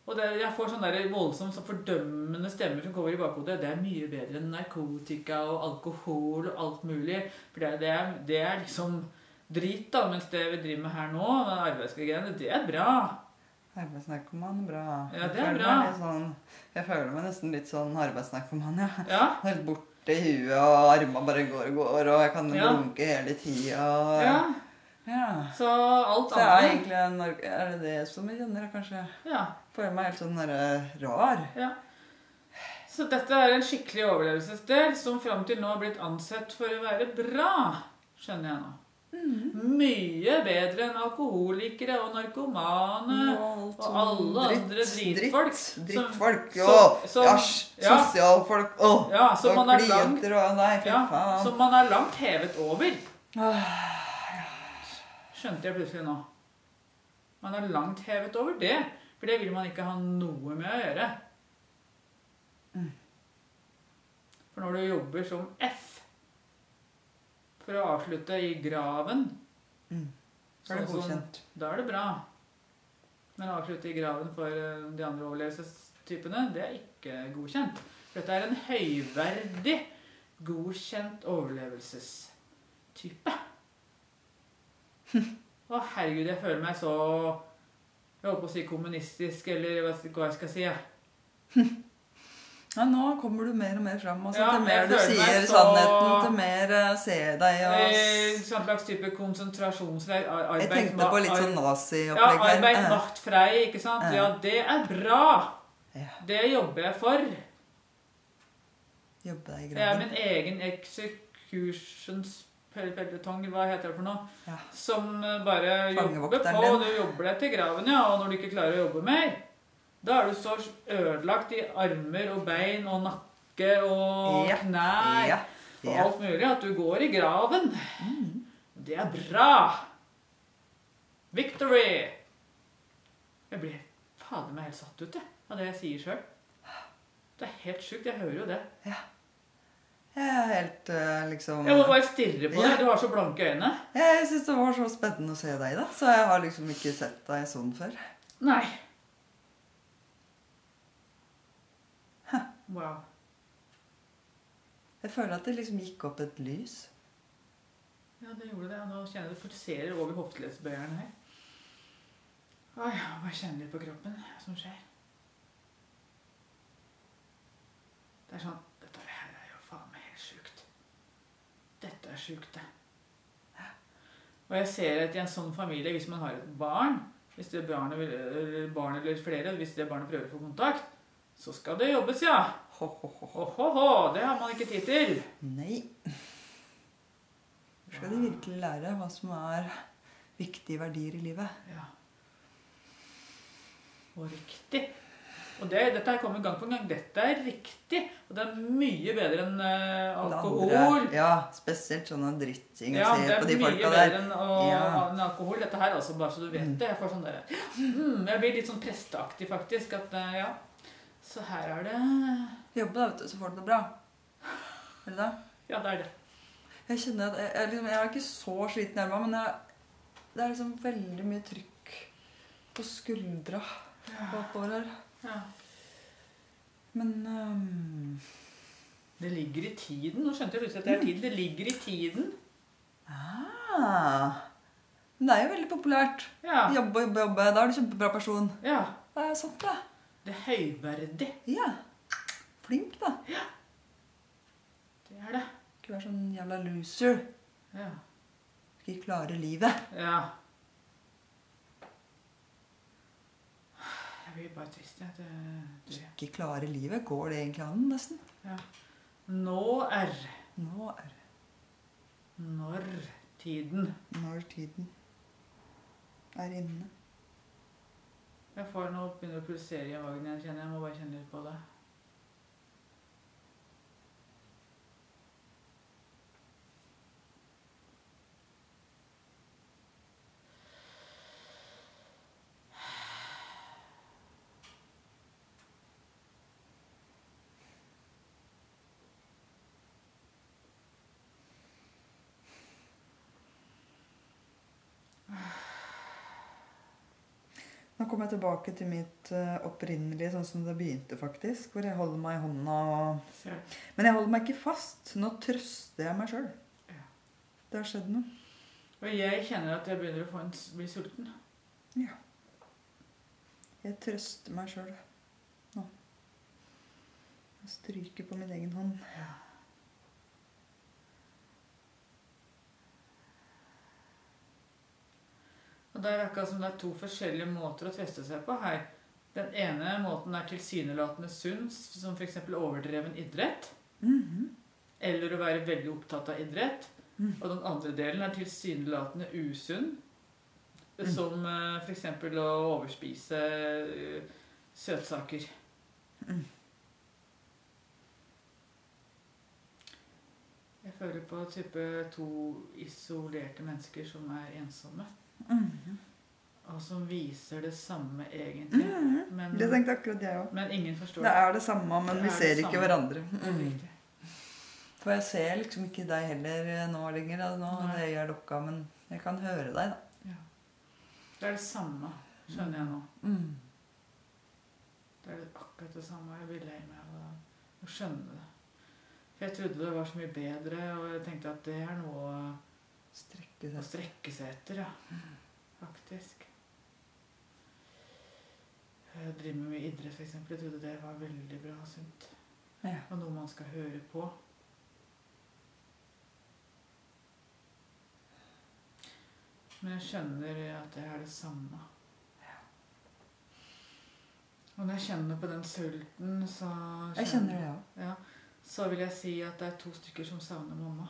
S1: Og det, jeg får sånne der voldsomme sånn fordømmende stemmer som kommer i bakhodet. Det er mye bedre enn narkotika og alkohol og alt mulig. For det, det, er, det er liksom drit, da. Mens det vi driver med her nå, med arbeidsgreiene, det er bra.
S2: Arbeidsnarkoman, bra.
S1: Ja, det
S2: Jeg
S1: er
S2: føler
S1: bra.
S2: meg litt Sånn, jeg føler meg nesten litt sånn arbeidsnarkoman, ja.
S1: Ja.
S2: Helt borte i huet, og armene bare går og går, og jeg kan
S1: Ja.
S2: blunke hele tida.
S1: ja.
S2: ja.
S1: Så alt
S2: Det er
S1: annet
S2: egentlig en, nark- er det det som jeg kjenner, da, kanskje?
S1: ja.
S2: Føler meg helt sånn derre rar.
S1: Ja. Så dette er en skikkelig overlevelsesdel som fram til nå har blitt ansett for å være bra, skjønner jeg nå. Mye bedre enn alkoholikere og narkomane og alle andre dritfolk. som-
S2: sånn Drittfolk.
S1: som-
S2: Åh,
S1: som-
S2: æsj.
S1: ja.
S2: Sosialfolk. Åh.
S1: Ja, som
S2: og
S1: man er langt,
S2: klienter og Nei, fy
S1: ja,
S2: faen.
S1: som man er langt hevet over.
S2: Åh,
S1: Skjønte jeg plutselig nå. Man er langt hevet over det, for det vil man ikke ha noe med å gjøre.
S2: Mm.
S1: For når du jobber som F for å avslutte i graven
S2: er det
S1: sånn som-
S2: Mm. godkjent?
S1: Da er det bra. Men å avslutte i graven for eh, de andre overlevelsestypene, det er ikke godkjent. For dette er en høyverdig, godkjent overlevelsestype. Å herregud, jeg føler meg så Jeg holdt på å si kommunistisk, eller hva hva jeg skal si. jeg.
S2: Ja, nå kommer du mer og mer fram. Altså,
S1: Ja,
S2: til
S1: jeg
S2: mer du
S1: føler meg
S2: sier
S1: så-
S2: sannheten, til mer eh, ser jeg deg og
S1: Eh,
S2: s-
S1: Sånn slags type konsentrasjonsleir. ar-
S2: Jeg
S1: arbeids-
S2: tenkte på litt
S1: ar-
S2: sånn
S1: Ja,
S2: naziopplegg
S1: arbeid,
S2: Eh,
S1: makt, frei, ikke sant?
S2: Ja.
S1: Ja, det er bra!
S2: Ja.
S1: Det jobber jeg for.
S2: Eh, Jobbe deg i
S1: Jeg er
S2: graven.
S1: min egen executions-pelletong, hva heter det for noe?
S2: Ja.
S1: Som eh, bare jobber
S2: Fangevokteren
S1: på,
S2: din.
S1: og du jobber deg til graven, ja. Og når du ikke klarer å jobbe mer, da er du så ødelagt i armer og bein og nakke og
S2: Ja.
S1: knær
S2: Ja. Mm.
S1: og
S2: ja.
S1: alt mulig at du går i graven. Det er bra! Victory! Jeg blir fader meg helt satt ut jeg, av det jeg sier sjøl. Det er helt sjukt. Jeg hører jo det.
S2: Jeg er helt eh, liksom
S1: Jeg må bare stirre på
S2: Ja.
S1: deg. Du har så blanke øyne.
S2: Jeg syns det var så spennende å se deg, da. Så jeg har liksom ikke sett deg sånn før.
S1: Nei. Wow.
S2: Jeg føler at det liksom gikk opp et lys.
S1: Ja, det gjorde det. Nå kjenner jeg det pulserer over hofteleddsbøyeren her. Oi, jeg bare kjenner litt på kroppen hva som skjer. Det er sånn Dette her er jo faen meg helt sjukt. Dette er sjukt, det. Og jeg ser at i en sånn familie, hvis man har et barn hvis det barnet, vil- eller barn eller flere, hvis det barnet prøver å få kontakt, så skal det jobbes, ja.
S2: Ho, ho, ho, ho.
S1: Ho, ho, ho, det har man ikke tid til.
S2: Nei. Hvor skal de virkelig lære hva som er viktige verdier i livet?
S1: Ja. Og riktig. Og det, dette her kommer gang på gang. Dette er riktig. Og det er mye bedre enn eh,
S2: Det
S1: alkohol.
S2: andre- Ja, spesielt sånne dritting.
S1: Ja,
S2: å se
S1: det er
S2: på de
S1: mye
S2: folka
S1: bedre
S2: der.
S1: enn å-
S2: Ja.
S1: enn alkohol. Dette her, altså, bare så du vet det. Jeg får sånn derre mm, Jeg blir litt sånn presteaktig, faktisk. At eh, ja, så her er det
S2: Jobbe, da, vet du, så får du det bra. Eller da?
S1: Ja, det er det.
S2: Jeg kjenner at jeg, jeg, liksom, jeg er ikke så sliten i armene, men jeg, det er liksom veldig mye trykk på skuldra og oppover her.
S1: Ja.
S2: Men ehm,
S1: Det ligger i tiden. Nå skjønte jeg plutselig at
S2: Mm.
S1: det er tid. Det ligger i tiden.
S2: ah, Men det er jo veldig populært.
S1: Ja.
S2: Jobbe, jobbe, jobbe. Da er du kjempebra person.
S1: ja.
S2: Det er sant, det.
S1: Det er høyverdig.
S2: Ja. Flink, da.
S1: Det er det.
S2: Ikke være sånn jævla loser.
S1: Ja.
S2: Skal ikke klare livet.
S1: ja. Jeg blir bare trist, jeg. Det, det.
S2: Ikke klare livet. Går det egentlig an, nesten?
S1: Nå er
S2: Nå er det
S1: når tiden
S2: når tiden er inne.
S1: Jeg får nå begynner å pulsere i magen igjen, kjenner jeg. Jeg må bare kjenne litt på det.
S2: Nå kommer jeg tilbake til mitt eh, opprinnelige, sånn som det begynte, faktisk. Hvor jeg holder meg i hånda og
S1: Ser du?
S2: Men jeg holder meg ikke fast. Nå trøster jeg meg sjøl.
S1: Ja.
S2: Det har skjedd noe.
S1: Og jeg kjenner at jeg begynner å få en, s- bli sulten.
S2: Jeg trøster meg sjøl nå. Jeg stryker på min egen hånd.
S1: Og det er akkurat som det er to forskjellige måter å teste seg på her. Den ene måten er tilsynelatende sunn, s- som f.eks. overdreven idrett.
S2: Mhm.
S1: Eller å være veldig opptatt av idrett.
S2: Mm.
S1: Og den andre delen er tilsynelatende usunn.
S2: Mm.
S1: Som f.eks. å overspise eh, søtsaker.
S2: Mm.
S1: Jeg føler på type to isolerte mennesker som er ensomme.
S2: Mhm.
S1: Og som viser det samme, egentlig.
S2: Mhm.
S1: Men,
S2: Det tenkte akkurat jeg òg.
S1: men ingen forstår
S2: Det
S1: det.
S2: er Mm. det samme,
S1: Mm.
S2: men
S1: Det
S2: vi
S1: er
S2: ser
S1: det
S2: ikke
S1: samme.
S2: hverandre. Mhm.
S1: Det er riktig.
S2: For jeg ser liksom ikke deg heller eh, nå lenger. da. Nå
S1: Nei.
S2: er jeg lukka, men jeg kan høre deg, da.
S1: Det er det samme, skjønner jeg nå.
S2: Mm.
S1: Det er akkurat det samme. Jeg blir lei meg av det. altså. å skjønne det. For jeg trodde det var så mye bedre, og jeg tenkte at det er noe
S2: Strekke
S1: å
S2: seg.
S1: strekke seg etter, ja. Faktisk. Jeg driver med mye idrett, f.eks. Jeg trodde det var veldig bra og sunt.
S2: Ja.
S1: Og noe man skal høre på. Men jeg skjønner at det er det samme. Og når jeg kjenner på den sulten, så
S2: Jeg kjenner det, jeg òg.
S1: Ja, så vil jeg si at det er to stykker som savner mamma.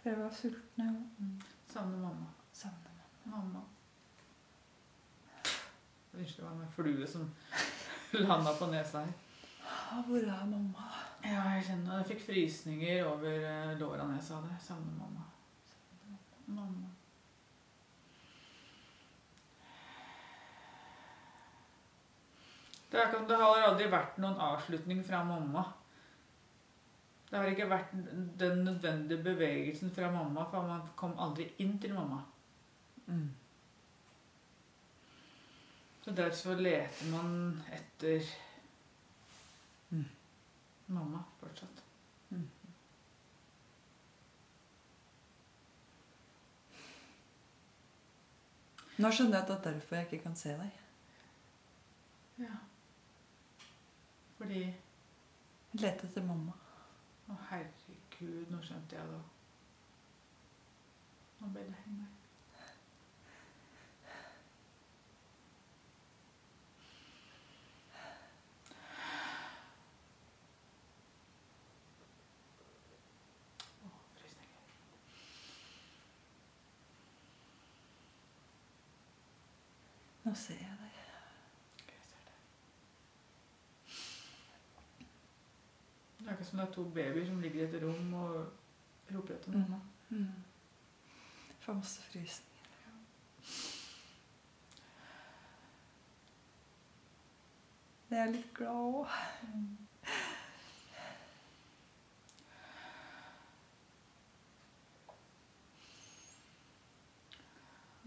S2: For jeg var sulten, jeg òg.
S1: Savner mamma.
S2: Savner meg.
S1: Mamma. Unnskyld, det var en flue som landa på nesa her.
S2: Ah, Hvor er mamma?
S1: Ja, jeg kjenner det. Jeg fikk frysninger over eh, låra når jeg sa det. Jeg Savner mamma. Mamma. Det, er, ikke- det har aldri vært noen avslutning fra mamma. Det har ikke vært den nødvendige bevegelsen fra mamma, for man kom aldri inn til mamma.
S2: Mm.
S1: Så derfor leter man etter
S2: Mm.
S1: mamma fortsatt.
S2: Mm. Nå skjønner jeg at det er derfor jeg ikke kan se deg.
S1: Ja. Fordi
S2: Lete etter mamma.
S1: Å, herregud, nå skjønte jeg det òg. Nå ble det lei meg. Å, frysninger.
S2: Nå ser jeg deg.
S1: Ok, jeg ser det. Det er ikke som det er to babyer som ligger i et rom og roper etter noen.
S2: Mm. Mm. Får masse frysninger. Jeg er litt glad òg.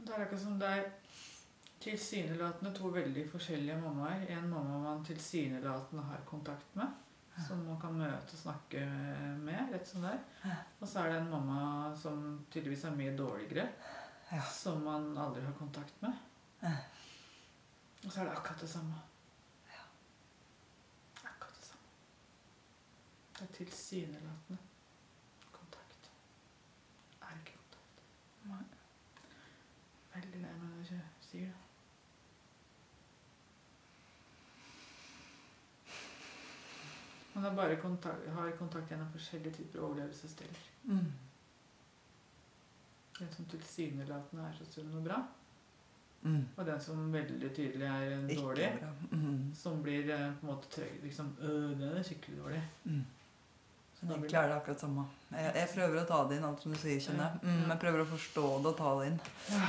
S1: Det er akkurat som det er tilsynelatende to veldig forskjellige mammaer. En mamma man tilsynelatende har kontakt med, som man kan møte og snakke med. rett som det er. Og så er det en mamma som tydeligvis er mye dårligere,
S2: Ja.
S1: som man aldri har kontakt med.
S2: Ja.
S1: Og så er det akkurat det samme. Akkurat det samme. Det er tilsynelatende kontakt. Er ikke kontakt.
S2: Nei.
S1: Veldig lei meg når jeg ikke sier det. Man har bare kontakt, har kontakt gjennom forskjellige typer overlevelsessteder.
S2: Mm.
S1: Den som tilsynelatende er sånn som noe bra,
S2: Mm.
S1: og den som veldig tydelig er eh,
S2: Ikke
S1: dårlig.
S2: bra. Mm.
S1: Som blir eh, på en måte trygg. Liksom, øh, den er skikkelig dårlig.
S2: Mm.
S1: Så da
S2: Men
S1: blir
S2: egentlig er det akkurat samme. Jeg, jeg prøver å ta det inn, alt som du sier, kjenner jeg. Mm, jeg prøver å forstå det og ta det inn.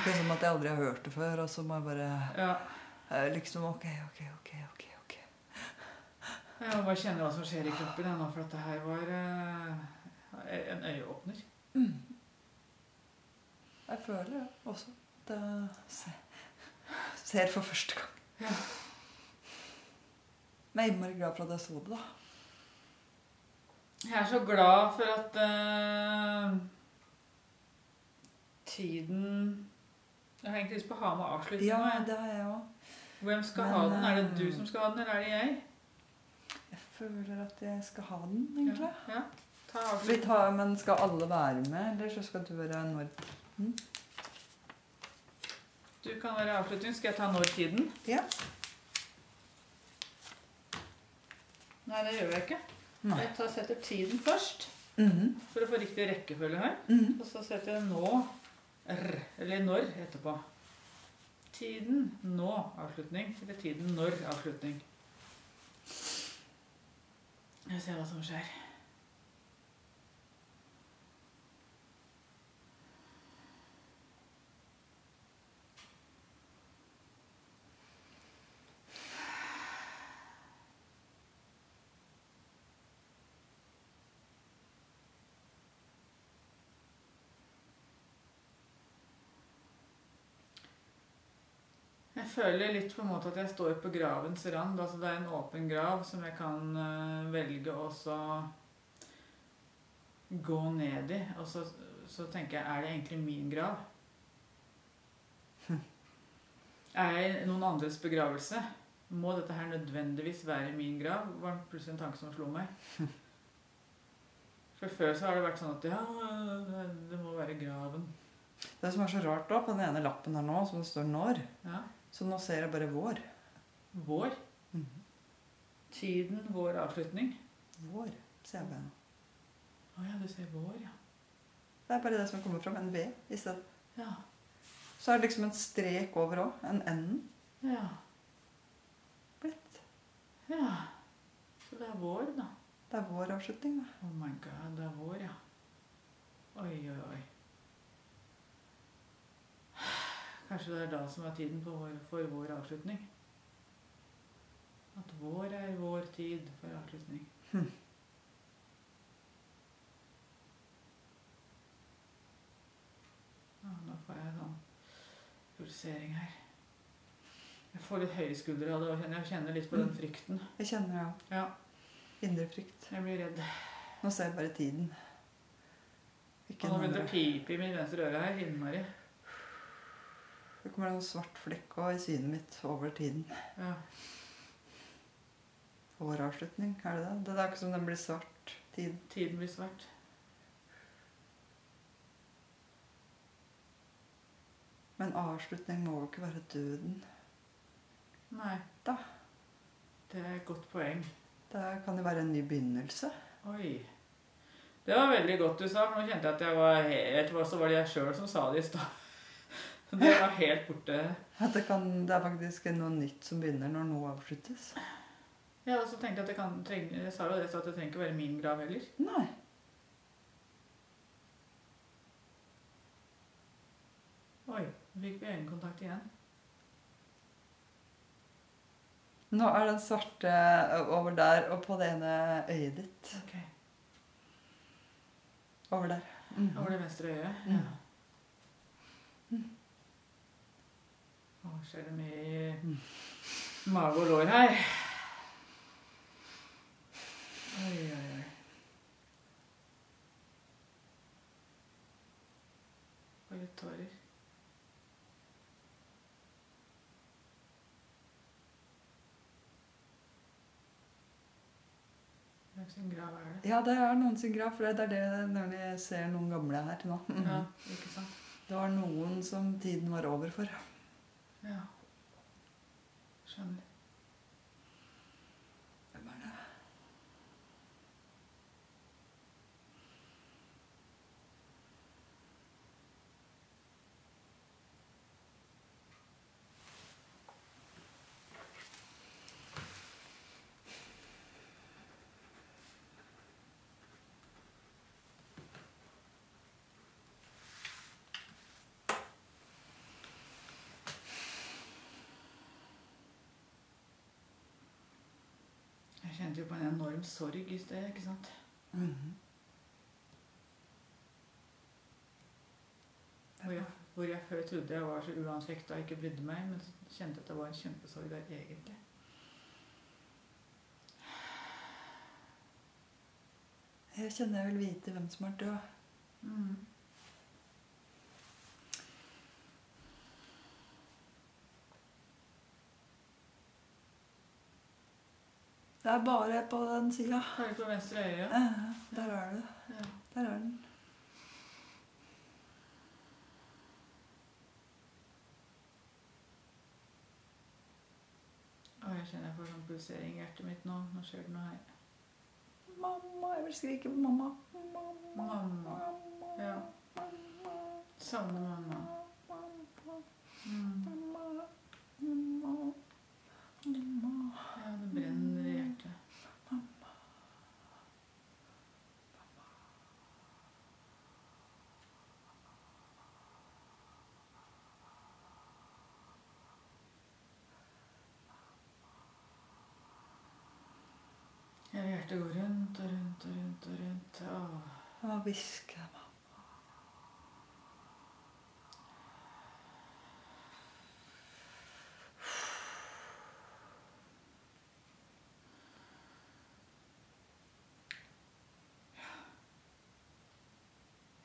S2: Det er som at jeg aldri har hørt det før, og så må jeg bare
S1: Ja,
S2: eh, liksom Ok, ok, ok, ok. ok.
S1: jeg må bare kjenne hva som skjer i kroppen jeg, nå, for at det her var eh, en øyeåpner.
S2: Jeg føler det også. Det ser, ser for første gang.
S1: Ja.
S2: Men jeg er innmari glad for at jeg så det, da.
S1: Jeg er så glad for at eh, tiden Jeg har egentlig lyst på å ha med
S2: Ja,
S1: avslutninga.
S2: det har jeg òg.
S1: Hvem skal
S2: Men,
S1: ha den? Er det
S2: eh,
S1: du som skal ha den, eller er det jeg?
S2: Jeg føler at jeg skal ha den, egentlig.
S1: Ja. Ta
S2: Vi
S1: avslutning.
S2: tar, men skal alle være med, eller så skal du være når?
S1: Du kan være avslutning. Skal jeg ta når tiden?
S2: Ja.
S1: Nei, det gjør jeg ikke.
S2: Nei.
S1: Jeg tar, setter tiden først
S2: Mhm,
S1: for å få riktig rekkefølge her.
S2: mhm.
S1: Og så setter jeg nå r, eller når etterpå. Tiden nå avslutning, eller tiden når avslutning. Jeg ser hva som skjer. Jeg føler litt på en måte at jeg står på gravens rand. altså Det er en åpen grav som jeg kan eh, velge å så gå ned i. Og så, så tenker jeg, er det egentlig min grav? Er jeg i noen andres begravelse? Må dette her nødvendigvis være min grav? var plutselig en tanke som slo meg. For før så har det vært sånn at ja, det- det må være graven.
S2: Det som er så rart, da, på den ene lappen her nå, som det står 'når',
S1: Ja.
S2: så nå ser jeg bare 'vår'.
S1: Vår.
S2: Mhm.
S1: Tiden vår avslutning.
S2: Vår, ser jeg bare nå.
S1: Å ja, du sier vår, ja.
S2: Det er bare det som kommer fram. En V i stedet.
S1: Ja.
S2: Så er det liksom en strek over òg. En N
S1: Ja.
S2: blitt.
S1: ja. Så det er vår, da.
S2: Det er vår avslutning, da.
S1: Oh my god, det er vår, ja. Oi, oi, oi. Kanskje det er da som er tiden for vår, for vår avslutning. At vår er vår tid for avslutning. Ja, nå får jeg sånn pulsering her. Jeg får litt høye skuldre av det, og kjenner- jeg kjenner litt på den frykten.
S2: Jeg kjenner det òg.
S1: Ja,
S2: Indre frykt.
S1: jeg blir redd.
S2: Nå ser jeg bare tiden. Ikke
S1: Og nå begynte det
S2: noe
S1: å pipe i mitt venstre øre her. Innmari.
S2: Det kommer en svart flekk også i synet mitt over tiden.
S1: Ja.
S2: Vår avslutning, er det det? Det er ikke som den blir svart. Tid.
S1: Tiden blir svart.
S2: Men avslutning må jo ikke være døden.
S1: Nei.
S2: Da.
S1: Det er et godt poeng.
S2: Det kan jo være en ny begynnelse.
S1: Oi. Det var veldig godt du sa, for nå kjente jeg at jeg var helt hva Så var det jeg sjøl som sa det i stad. Så det var helt borte.
S2: At det, kan, det er faktisk noe nytt som begynner når noe avsluttes.
S1: Ja, og så tenkte jeg at jeg kan trenge Jeg sa jo det, så at det trenger ikke være min grav heller.
S2: Nei.
S1: Oi. Nå fikk vi øyekontakt igjen.
S2: Nå er den svarte over der og på det ene øyet ditt.
S1: Ok.
S2: Over der.
S1: Over det venstre øyet?
S2: Mm.
S1: Ja. Å, skjer det mye i mage og lår her? Oi, oi, oi. Og litt tårer. Hvem sin grav er det?
S2: Ja, det er noen sin grav, for det er det jeg nemlig ser noen gamle her nå. Mhm.
S1: Ja, ikke sant?
S2: Det var noen som tiden var over for.
S1: Ja. Skjønner.
S2: Hvem er det?
S1: Jeg kjente jo på en enorm sorg i sted, ikke sant?
S2: Mhm.
S1: Hvor jeg, hvor jeg før trodde jeg var så uansvekta og ikke brydde meg, men så kjente jeg at det var en kjempesorg der egentlig.
S2: Jeg kjenner jeg vil vite hvem som er død.
S1: Mm.
S2: Det er bare på den sida. Mhm.
S1: Bare på venstre øye. Ja.
S2: Der er det. Der er den.
S1: Og jeg kjenner jeg får sånn pulsering i hjertet mitt nå. Nå skjer det noe her.
S2: Mamma, jeg vil skrike på mamma. Mamma.
S1: Mamma. Ja. Savner mamma. Mm. Ja, det brenner i hjertet. Hele hjertet går rundt og rundt og rundt og rundt. Åh.
S2: Jeg må hviske mamma.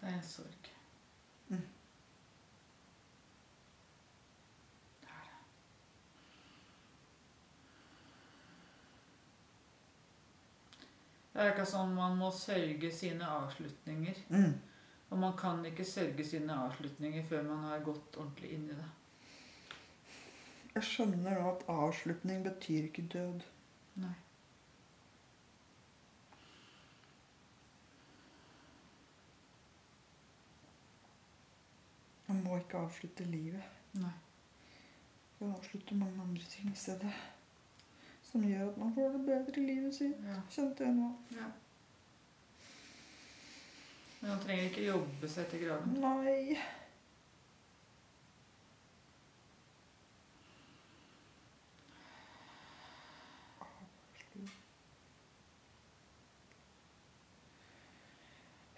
S1: Det er en sorg.
S2: Mm.
S1: Det er det. Det er akkurat som man må sørge sine avslutninger.
S2: Mm.
S1: Og man kan ikke sørge sine avslutninger før man har gått ordentlig inn i det.
S2: Jeg skjønner nå at avslutning betyr ikke død.
S1: Nei.
S2: Man må ikke avslutte livet.
S1: Nei.
S2: Man avslutter mange andre ting i stedet. Som gjør at man får det bedre i livet sitt.
S1: Ja.
S2: Kjente jeg nå.
S1: ja. Men man trenger ikke jobbe seg til graven.
S2: Nei.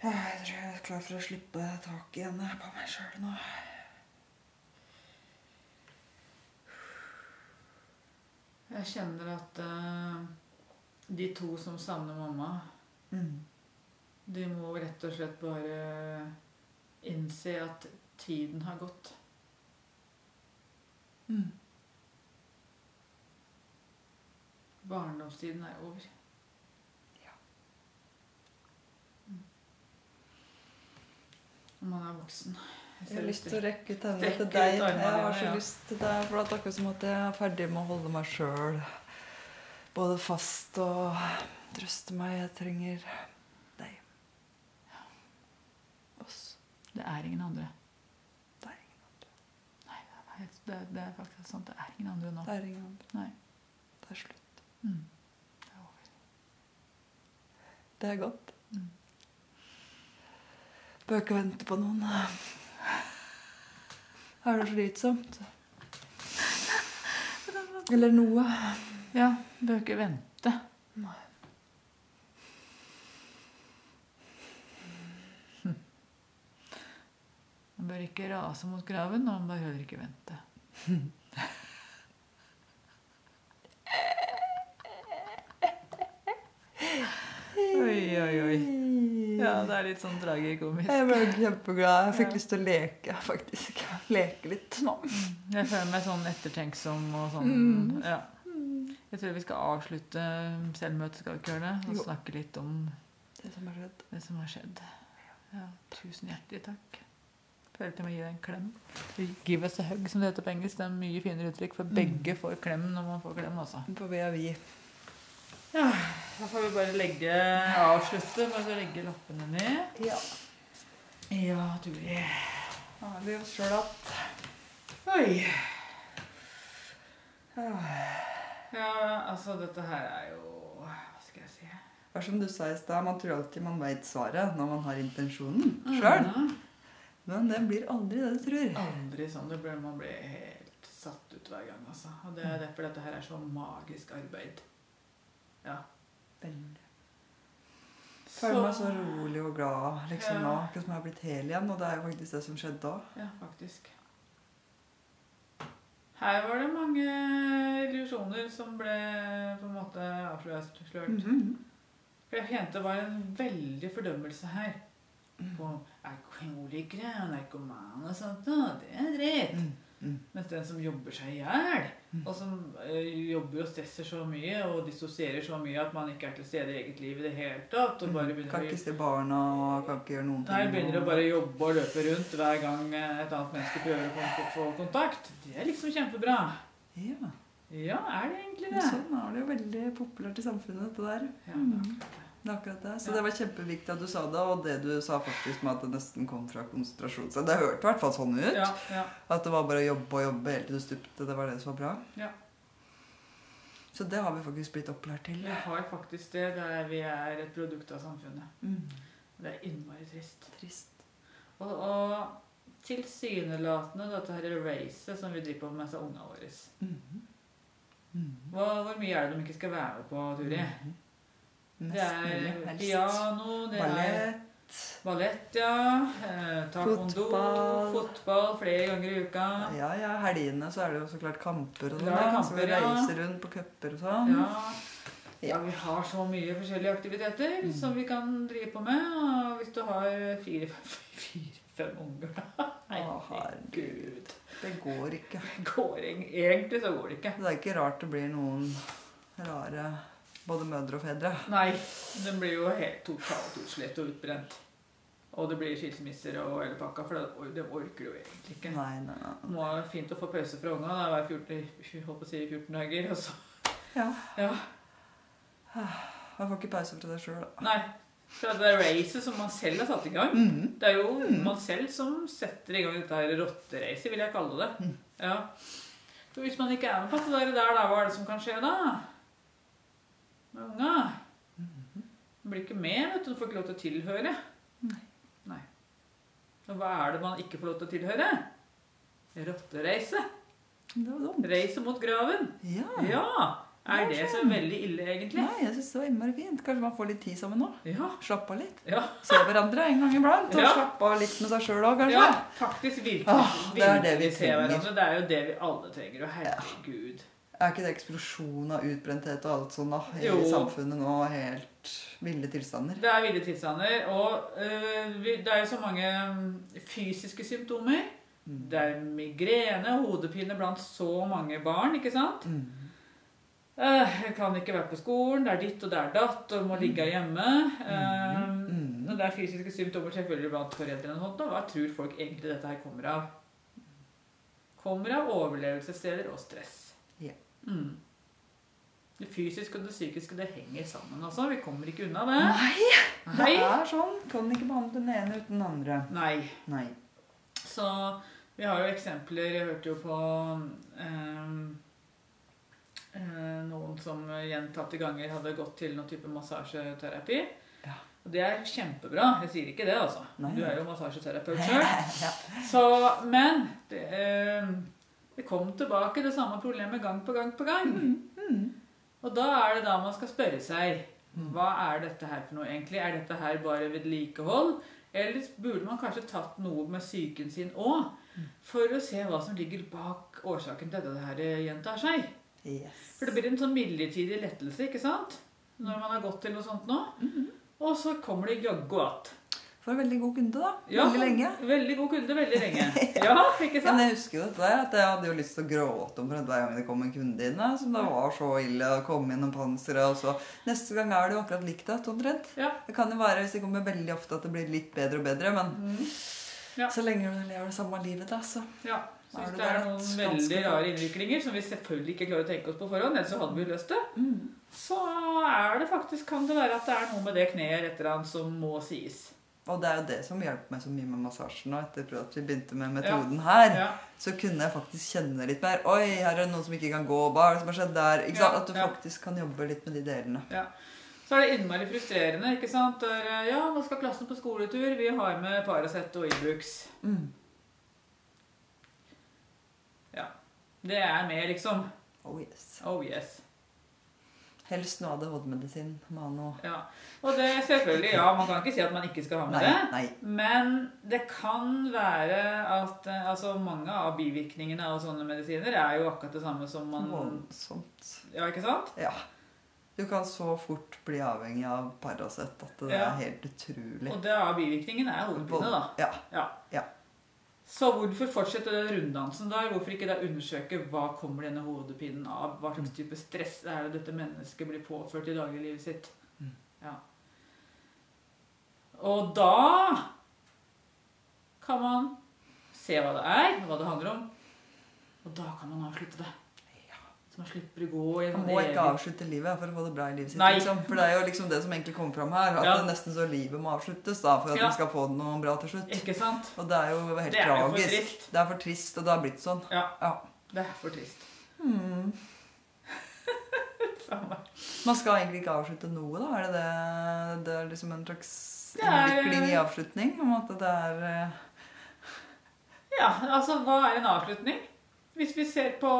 S2: Ja, Jeg tror jeg er klar for å slippe tak igjen på meg sjøl nå.
S1: Jeg kjenner at eh, de to som savner mamma,
S2: Mm.
S1: De må rett og slett bare innse at tiden har gått.
S2: Mm.
S1: Barndomstiden er over.
S2: Ja.
S1: Mm. Og man er voksen. Jeg
S2: Jeg har
S1: ser
S2: lyst til å
S1: etter.
S2: rekke ut hendene
S1: Strekke
S2: til
S1: ut
S2: deg. Jeg
S1: armene
S2: har
S1: dine,
S2: så
S1: ja.
S2: lyst til deg, for det er akkurat som at jeg er ferdig med å holde meg sjøl både fast og trøste meg. Jeg trenger deg. Oss.
S1: Det er ingen andre.
S2: Det er ingen andre.
S1: Nei, det er, helt- det, er- det er faktisk sant. Det er ingen andre nå.
S2: Det er ingen andre.
S1: Nei.
S2: Det er slutt.
S1: Mm. Det er over.
S2: Det er godt.
S1: Mm.
S2: Bør ikke vente på noen. Er det slitsomt? Eller noe.
S1: Ja, bør ikke vente.
S3: Nei.
S1: Hm. Man bør ikke rase mot graven, og man behøver ikke vente. Oi, oi, oi. Ja, det er litt sånn tragikomisk.
S2: Jeg ble kjempeglad. Jeg fikk
S1: Ja.
S2: lyst til å leke, faktisk. Leke litt nå.
S1: Jeg føler meg sånn ettertenksom og sånn.
S2: Mm.
S1: Ja. Jeg tror vi skal avslutte selvmøtet, skal vi ikke gjøre det? Og
S2: Jo.
S1: snakke litt om
S2: Det som har skjedd.
S1: det som har skjedd. Ja, tusen hjertelig takk. Følte jeg må gi deg en klem. Give us a hug, som det heter på engelsk. Det er mye finere uttrykk, for begge får klem når man får klem, altså.
S2: På vei av vi.
S1: Ja, da får vi bare legge avslutte med å legge lappene ned.
S2: Ja.
S1: Ja, Turi.
S2: Da er vi oss sjøl att.
S1: Oi. Ja, altså, dette her er jo Hva skal jeg si?
S2: Det er som du sa i stad, man tror alltid man veit svaret når man har intensjonen sjøl. Men det blir aldri det du tror.
S1: Mm. Aldri sånn. Det blir, man blir helt satt ut hver gang, altså. Og det er derfor dette her er så magisk arbeid. Ja.
S2: Veldig. Føler meg så rolig og glad liksom nå. Akkurat som jeg har blitt hel igjen. Og det er jo faktisk det som skjedde da.
S1: Ja, faktisk. Her var det mange illusjoner som ble på en måte avslørt. slørt.
S2: Mhm.
S1: For jeg kjente det var en veldig fordømmelse her. På alkoholikere og narkomane og sånt. Og det er dritt.
S2: Mm, mm.
S1: Mens den som jobber seg i hjel,
S2: Mhm.
S1: og som eh, jobber og stresser så mye og dissosierer så mye at man ikke er til stede i eget liv i det hele tatt og bare
S2: Mhm. Kan
S1: begynner
S2: ikke
S1: å
S2: se barna og kan ikke gjøre noen ting.
S1: Nei, begynner å bare jobbe og løpe rundt hver gang eh, et annet menneske prøver å få, få kontakt. Det er liksom kjempebra.
S2: Ja,
S1: Ja, er det egentlig
S2: men
S1: det?
S2: sånn er det jo veldig populært i samfunnet, dette der.
S1: Ja, takk.
S2: Det er akkurat det. Så
S1: Ja.
S2: det var kjempeviktig at du sa det, og det du sa faktisk med at det nesten kom fra konsentrasjon. Så det hørte i hvert fall sånn ut.
S1: Ja, ja.
S2: At det var bare å jobbe og jobbe helt til du stupte. Det var det som var bra.
S1: Ja.
S2: Så det har vi faktisk blitt opplært til.
S1: Vi har faktisk det der vi er et produkt av samfunnet.
S2: Mm.
S1: Det er innmari trist.
S2: Trist.
S1: Og, og tilsynelatende dette her racet som vi driver på med, så ungene våre.
S2: Mhm. Mhm.
S1: Mm. Hva, hvor mye er det de ikke skal være med på, Turi?
S2: Mhm. Mest
S1: Det er
S2: mulig helst.
S1: piano, det er
S2: Ballett.
S1: ballett, ja. eh, Taekwondo,
S2: Fotball.
S1: fotball flere ganger i uka.
S2: Ja, ja, helgene så er det jo så klart kamper og sånn.
S1: Ja,
S2: da.
S1: kamper,
S2: så vi
S1: ja.
S2: reiser rundt på cuper og sånn.
S1: Ja. ja, vi har så mye forskjellige aktiviteter
S2: Mm.
S1: som vi kan drive på med. Og hvis du har fire-fem fire, fem unger, da
S2: Å, herregud.
S1: Herregud.
S2: Det går ikke.
S1: Det går eng- Egentlig så går det ikke.
S2: Det er ikke rart det blir noen rare både mødre og fedre.
S1: Nei, den blir jo helt totalt utslett og utbrent. Og det blir skilsmisser og hele pakka, for det, or- det orker du egentlig ikke.
S2: Nei, nei, nei.
S1: Nå er det fint å få pause fra unga. Det var 14, jeg holdt på å si 14 dager. Og så.
S2: Ja.
S1: Ja.
S2: Man får ikke pause fra deg sjøl.
S1: Nei. Fra det racet som man selv har satt i gang.
S2: Mm.
S1: Det er jo man selv som setter i gang dette her rotteracet, vil jeg kalle det.
S2: Mm.
S1: Ja. Så hvis man ikke er med på det der, der, da, hva er det som kan skje da? Med unga?
S2: Mm-hmm.
S1: Man blir ikke med, vet du. Du får ikke lov til å tilhøre. Nei. Og hva er det man ikke får lov til å tilhøre? Rotterace.
S2: Det var dumt.
S1: Racet mot graven.
S2: Ja.
S1: Ja! Er
S2: Ja, sånn.
S1: det så
S2: skjønn.
S1: veldig ille, egentlig?
S2: Nei, jeg syns det var innmari fint. Kanskje man får litt tid sammen nå.
S1: Ja.
S2: Slappe av litt.
S1: Ja,
S2: Se hverandre en gang iblant. Og
S1: Ja.
S2: slappe av litt med seg sjøl òg, kanskje.
S1: ja faktisk virkelig,
S2: Åh, det er det vi
S1: virkelig se
S2: trenger.
S1: hverandre. Det er jo det vi alle trenger. Og herregud.
S2: Er ikke det eksplosjon av utbrenthet og alt sånt da, i
S1: Jo.
S2: samfunnet nå? Helt ville tilstander.
S1: Det er ville tilstander. Og øh, vi- det er jo så mange mm, fysiske symptomer.
S2: Mm.
S1: Det er migrene, hodepine blant så mange barn, ikke sant?
S2: Mm.
S1: Eh, Jeg kan ikke være på skolen, det er ditt og det er datt, og må ligge hjemme. Eh,
S2: Mm.
S1: Og det er fysiske symptomer selvfølgelig blant foreldrene. og sånt, og Hva tror folk egentlig dette her kommer av? Kommer av overlevelsessteder og stress.
S2: Ja.
S1: Mm. Det fysiske og det psykiske det henger sammen. altså. Vi kommer ikke unna det.
S2: Nei, det
S1: Nei.
S2: er sånn. Kan ikke behandle den ene uten den andre.
S1: Nei.
S2: Nei.
S1: Så vi har jo eksempler Jeg hørte jo på ehm, eh, noen som gjentatte ganger hadde gått til noen type massasjeterapi.
S2: Ja.
S1: Og det er kjempebra. Jeg sier ikke det, altså.
S2: Nei.
S1: Du er jo massasjeterapeut sjøl.
S2: Ja.
S1: Så, men ehm,
S2: Mm,
S1: det, eh, det kom tilbake det samme problemet gang på gang på gang. Og da er det da man skal spørre seg
S2: Mm.
S1: hva er dette her for noe egentlig? Er dette her bare vedlikehold? Eller burde man kanskje tatt noe med psyken sin òg?
S2: Mm.
S1: For å se hva som ligger bak årsaken til at dette her eh, gjentar seg.
S2: Yes.
S1: For det blir en sånn midlertidig lettelse, ikke sant? Når man har gått til noe sånt nå.
S2: Mm-hmm.
S1: Og så kommer det jaggu att.
S2: For en veldig god kunde, da.
S1: Ja.
S2: Veldig lenge.
S1: Veldig god kunde veldig lenge. Ja, ikke
S2: Ja, men
S1: sant?
S2: jeg husker jo dette der, at jeg hadde jo lyst til å gråte omtrent hver gang det kom en kunde inn. da, Som det var så ille å komme gjennom panseret, og så Neste gang er det jo akkurat likt igjen, omtrent.
S1: Ja.
S2: Det kan jo være hvis det kommer veldig ofte at det blir litt bedre og bedre, men
S1: Ja.
S2: så lenge du lever det samme livet, da, så
S1: ja.
S2: Da er
S1: Syns
S2: det
S1: det er
S2: bare
S1: noen
S2: et
S1: veldig
S2: ganske-
S1: rare innvirkninger som vi selvfølgelig ikke klarer å tenke oss på forhånd. Ellers så hadde vi jo løst det. Så er det faktisk, kan det være at det er noe med det kneet et eller annet som må sies.
S2: Og det er jo det som hjalp meg så mye med massasjen. Og etter at vi begynte med metoden her,
S1: Ja.
S2: så kunne jeg faktisk kjenne litt mer. Oi, her er det noen som ikke kan gå. Hva er det som har skjedd der? Ikke sant?
S1: Ja,
S2: At du
S1: ja.
S2: faktisk kan jobbe litt med de delene.
S1: Ja. Så er det innmari frustrerende. ikke sant? Der, eh, ja, nå skal klassen på skoletur. Vi har med Paracet og Ibux.
S2: Mm.
S1: Ja. Det er med, liksom.
S2: Oh yes.
S1: Oh yes.
S2: Helst noe ADHD-medisin. Mano.
S1: Ja. Og det selvfølgelig, ja, man kan ikke si at man ikke skal ha med
S2: Nei,
S1: det.
S2: nei.
S1: Men det kan være at eh, altså, mange av bivirkningene av sånne medisiner er jo akkurat det samme som man
S2: Voldsomt.
S1: Ja, ikke sant?
S2: Ja. Du kan så fort bli avhengig av Paracet at det
S1: Ja.
S2: er helt utrolig.
S1: Og det av bivirkningen er hodepine, da.
S2: Ja.
S1: Ja.
S2: Ja.
S1: Så hvorfor fortsette den runddansen da? Hvorfor ikke da undersøke hva kommer denne hodepinen av? Hva
S2: Mm.
S1: slags type stress er det dette mennesket blir påført i dagliglivet sitt?
S2: Mm.
S1: Ja. Og da kan man se hva det er, hva det handler om, og da kan man avslutte det. Så man slipper å gå i en
S2: Man må ikke avslutte livet for å få det bra i livet sitt.
S1: Nei.
S2: Liksom. For det er jo liksom det som egentlig kommer fram her. At
S1: Ja.
S2: det nesten så livet må avsluttes da, for at
S1: Ja.
S2: man skal få det noe bra til slutt.
S1: Ikke sant?
S2: Og det er jo helt
S1: Det er jo for
S2: tragisk.
S1: trist.
S2: Det er for trist, og det har blitt sånn.
S1: Ja,
S2: Ja.
S1: det er for trist. Samme.
S2: Man skal egentlig ikke avslutte noe, da? Er det det, det er liksom en slags
S1: Det er-
S2: innvikling i avslutning? Om at det er eh,
S1: Ja, altså hva er en avslutning? Hvis vi ser på,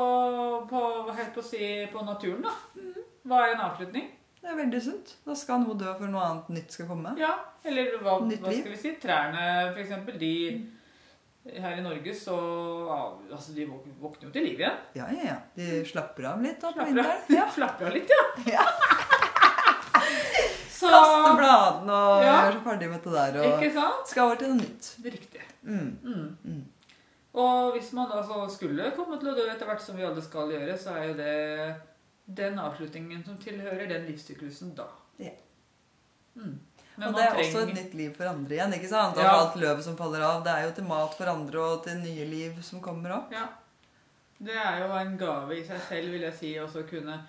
S1: på, hva heter det å si, på naturen, da.
S2: Mm.
S1: Hva er en avslutning?
S2: Det er veldig sunt. Da skal noe dø for noe annet nytt skal komme.
S1: Ja, eller hva,
S2: Nytt
S1: hva
S2: liv. Mm.
S1: skal vi si? Trærne, for eksempel, de her i Norge, så av- altså, de våk- våkner jo til liv igjen.
S2: Ja, ja, ja. De slapper av litt da på
S1: Mm. Slapper
S2: vinteren.
S1: av.
S2: Ja.
S1: Slapper av litt, ja. så
S2: Kaste bladene og
S1: Ja.
S2: gjør seg ferdig med det der. Og
S1: Ikke sant?
S2: skal over til noe nytt.
S1: Det er riktig.
S2: Mm.
S1: Mm.
S2: Mm.
S1: Og hvis man da så skulle komme til å dø etter hvert, som vi alle skal gjøre, så er jo det den avslutningen som tilhører den livssyklusen da.
S2: Ja.
S1: Mm.
S2: og det er også et nytt liv for andre igjen. ikke sant? Og
S1: Ja.
S2: alt løvet som faller av, det er jo til mat for andre og til nye liv som kommer opp.
S1: Ja. Det er jo en gave i seg selv, vil jeg si, å så kunne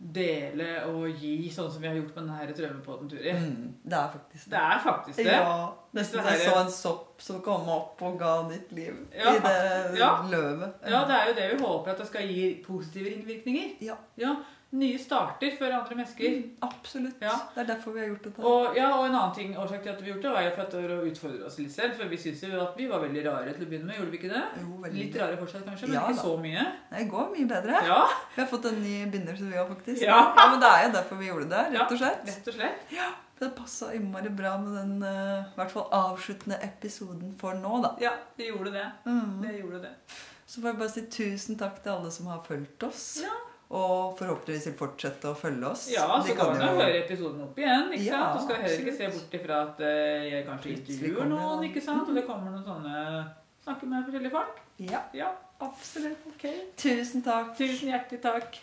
S1: dele og gi, sånn som vi har gjort med denne trømmepodden, Turi.
S2: Mm, det er faktisk
S1: Det er faktisk det.
S2: Ja, nesten
S1: Det
S2: så
S1: her
S2: jeg
S1: er-
S2: så en sopp som kom opp og ga nytt liv
S1: Ja,
S2: i det
S1: ja.
S2: løvet.
S1: Ja, det er jo det vi håper at det skal gi positive ringvirkninger.
S2: Ja.
S1: Ja, Nye starter for andre mennesker.
S2: Mm, Absolutt.
S1: Ja.
S2: Det er derfor vi har gjort dette.
S1: Og, ja, og en annen ting årsak til at vi gjorde det, var jo for at det var å utfordre oss litt selv. For vi syntes jo at vi var veldig rare til å begynne med, gjorde vi ikke det?
S2: jo, veldig.
S1: Litt rare fortsatt kanskje, men
S2: Ja,
S1: ikke
S2: da.
S1: så mye.
S2: Det går mye bedre.
S1: Ja,
S2: Vi har fått en ny binder som vi har faktisk.
S1: Ja.
S2: men det er jo derfor vi gjorde det, rett og slett.
S1: rett og slett.
S2: Det passa innmari bra med den eh, i hvert fall avsluttende episoden for nå, da.
S1: Ja, det gjorde det.
S2: Mm.
S1: Det gjorde det.
S2: Så får jeg bare si tusen takk til alle som har fulgt oss.
S1: Ja,
S2: Og forhåpentligvis vil fortsette å følge oss.
S1: ja
S2: De
S1: så går
S2: kan
S1: det an å
S2: jo-
S1: høre episoden opp igjen. ikke
S2: Ja,
S1: sant? Du skal heller ikke se
S2: absolutt.
S1: bort ifra at eh, jeg kanskje
S2: Plutselig
S1: intervjuer
S2: kommer det
S1: noen,
S2: noen. Mm.
S1: ikke sant? Og det kommer noen sånne Snakker med forskjellige folk.
S2: Ja,
S1: Ja,
S2: absolutt.
S1: ok.
S2: Tusen takk.
S1: Tusen hjertelig takk.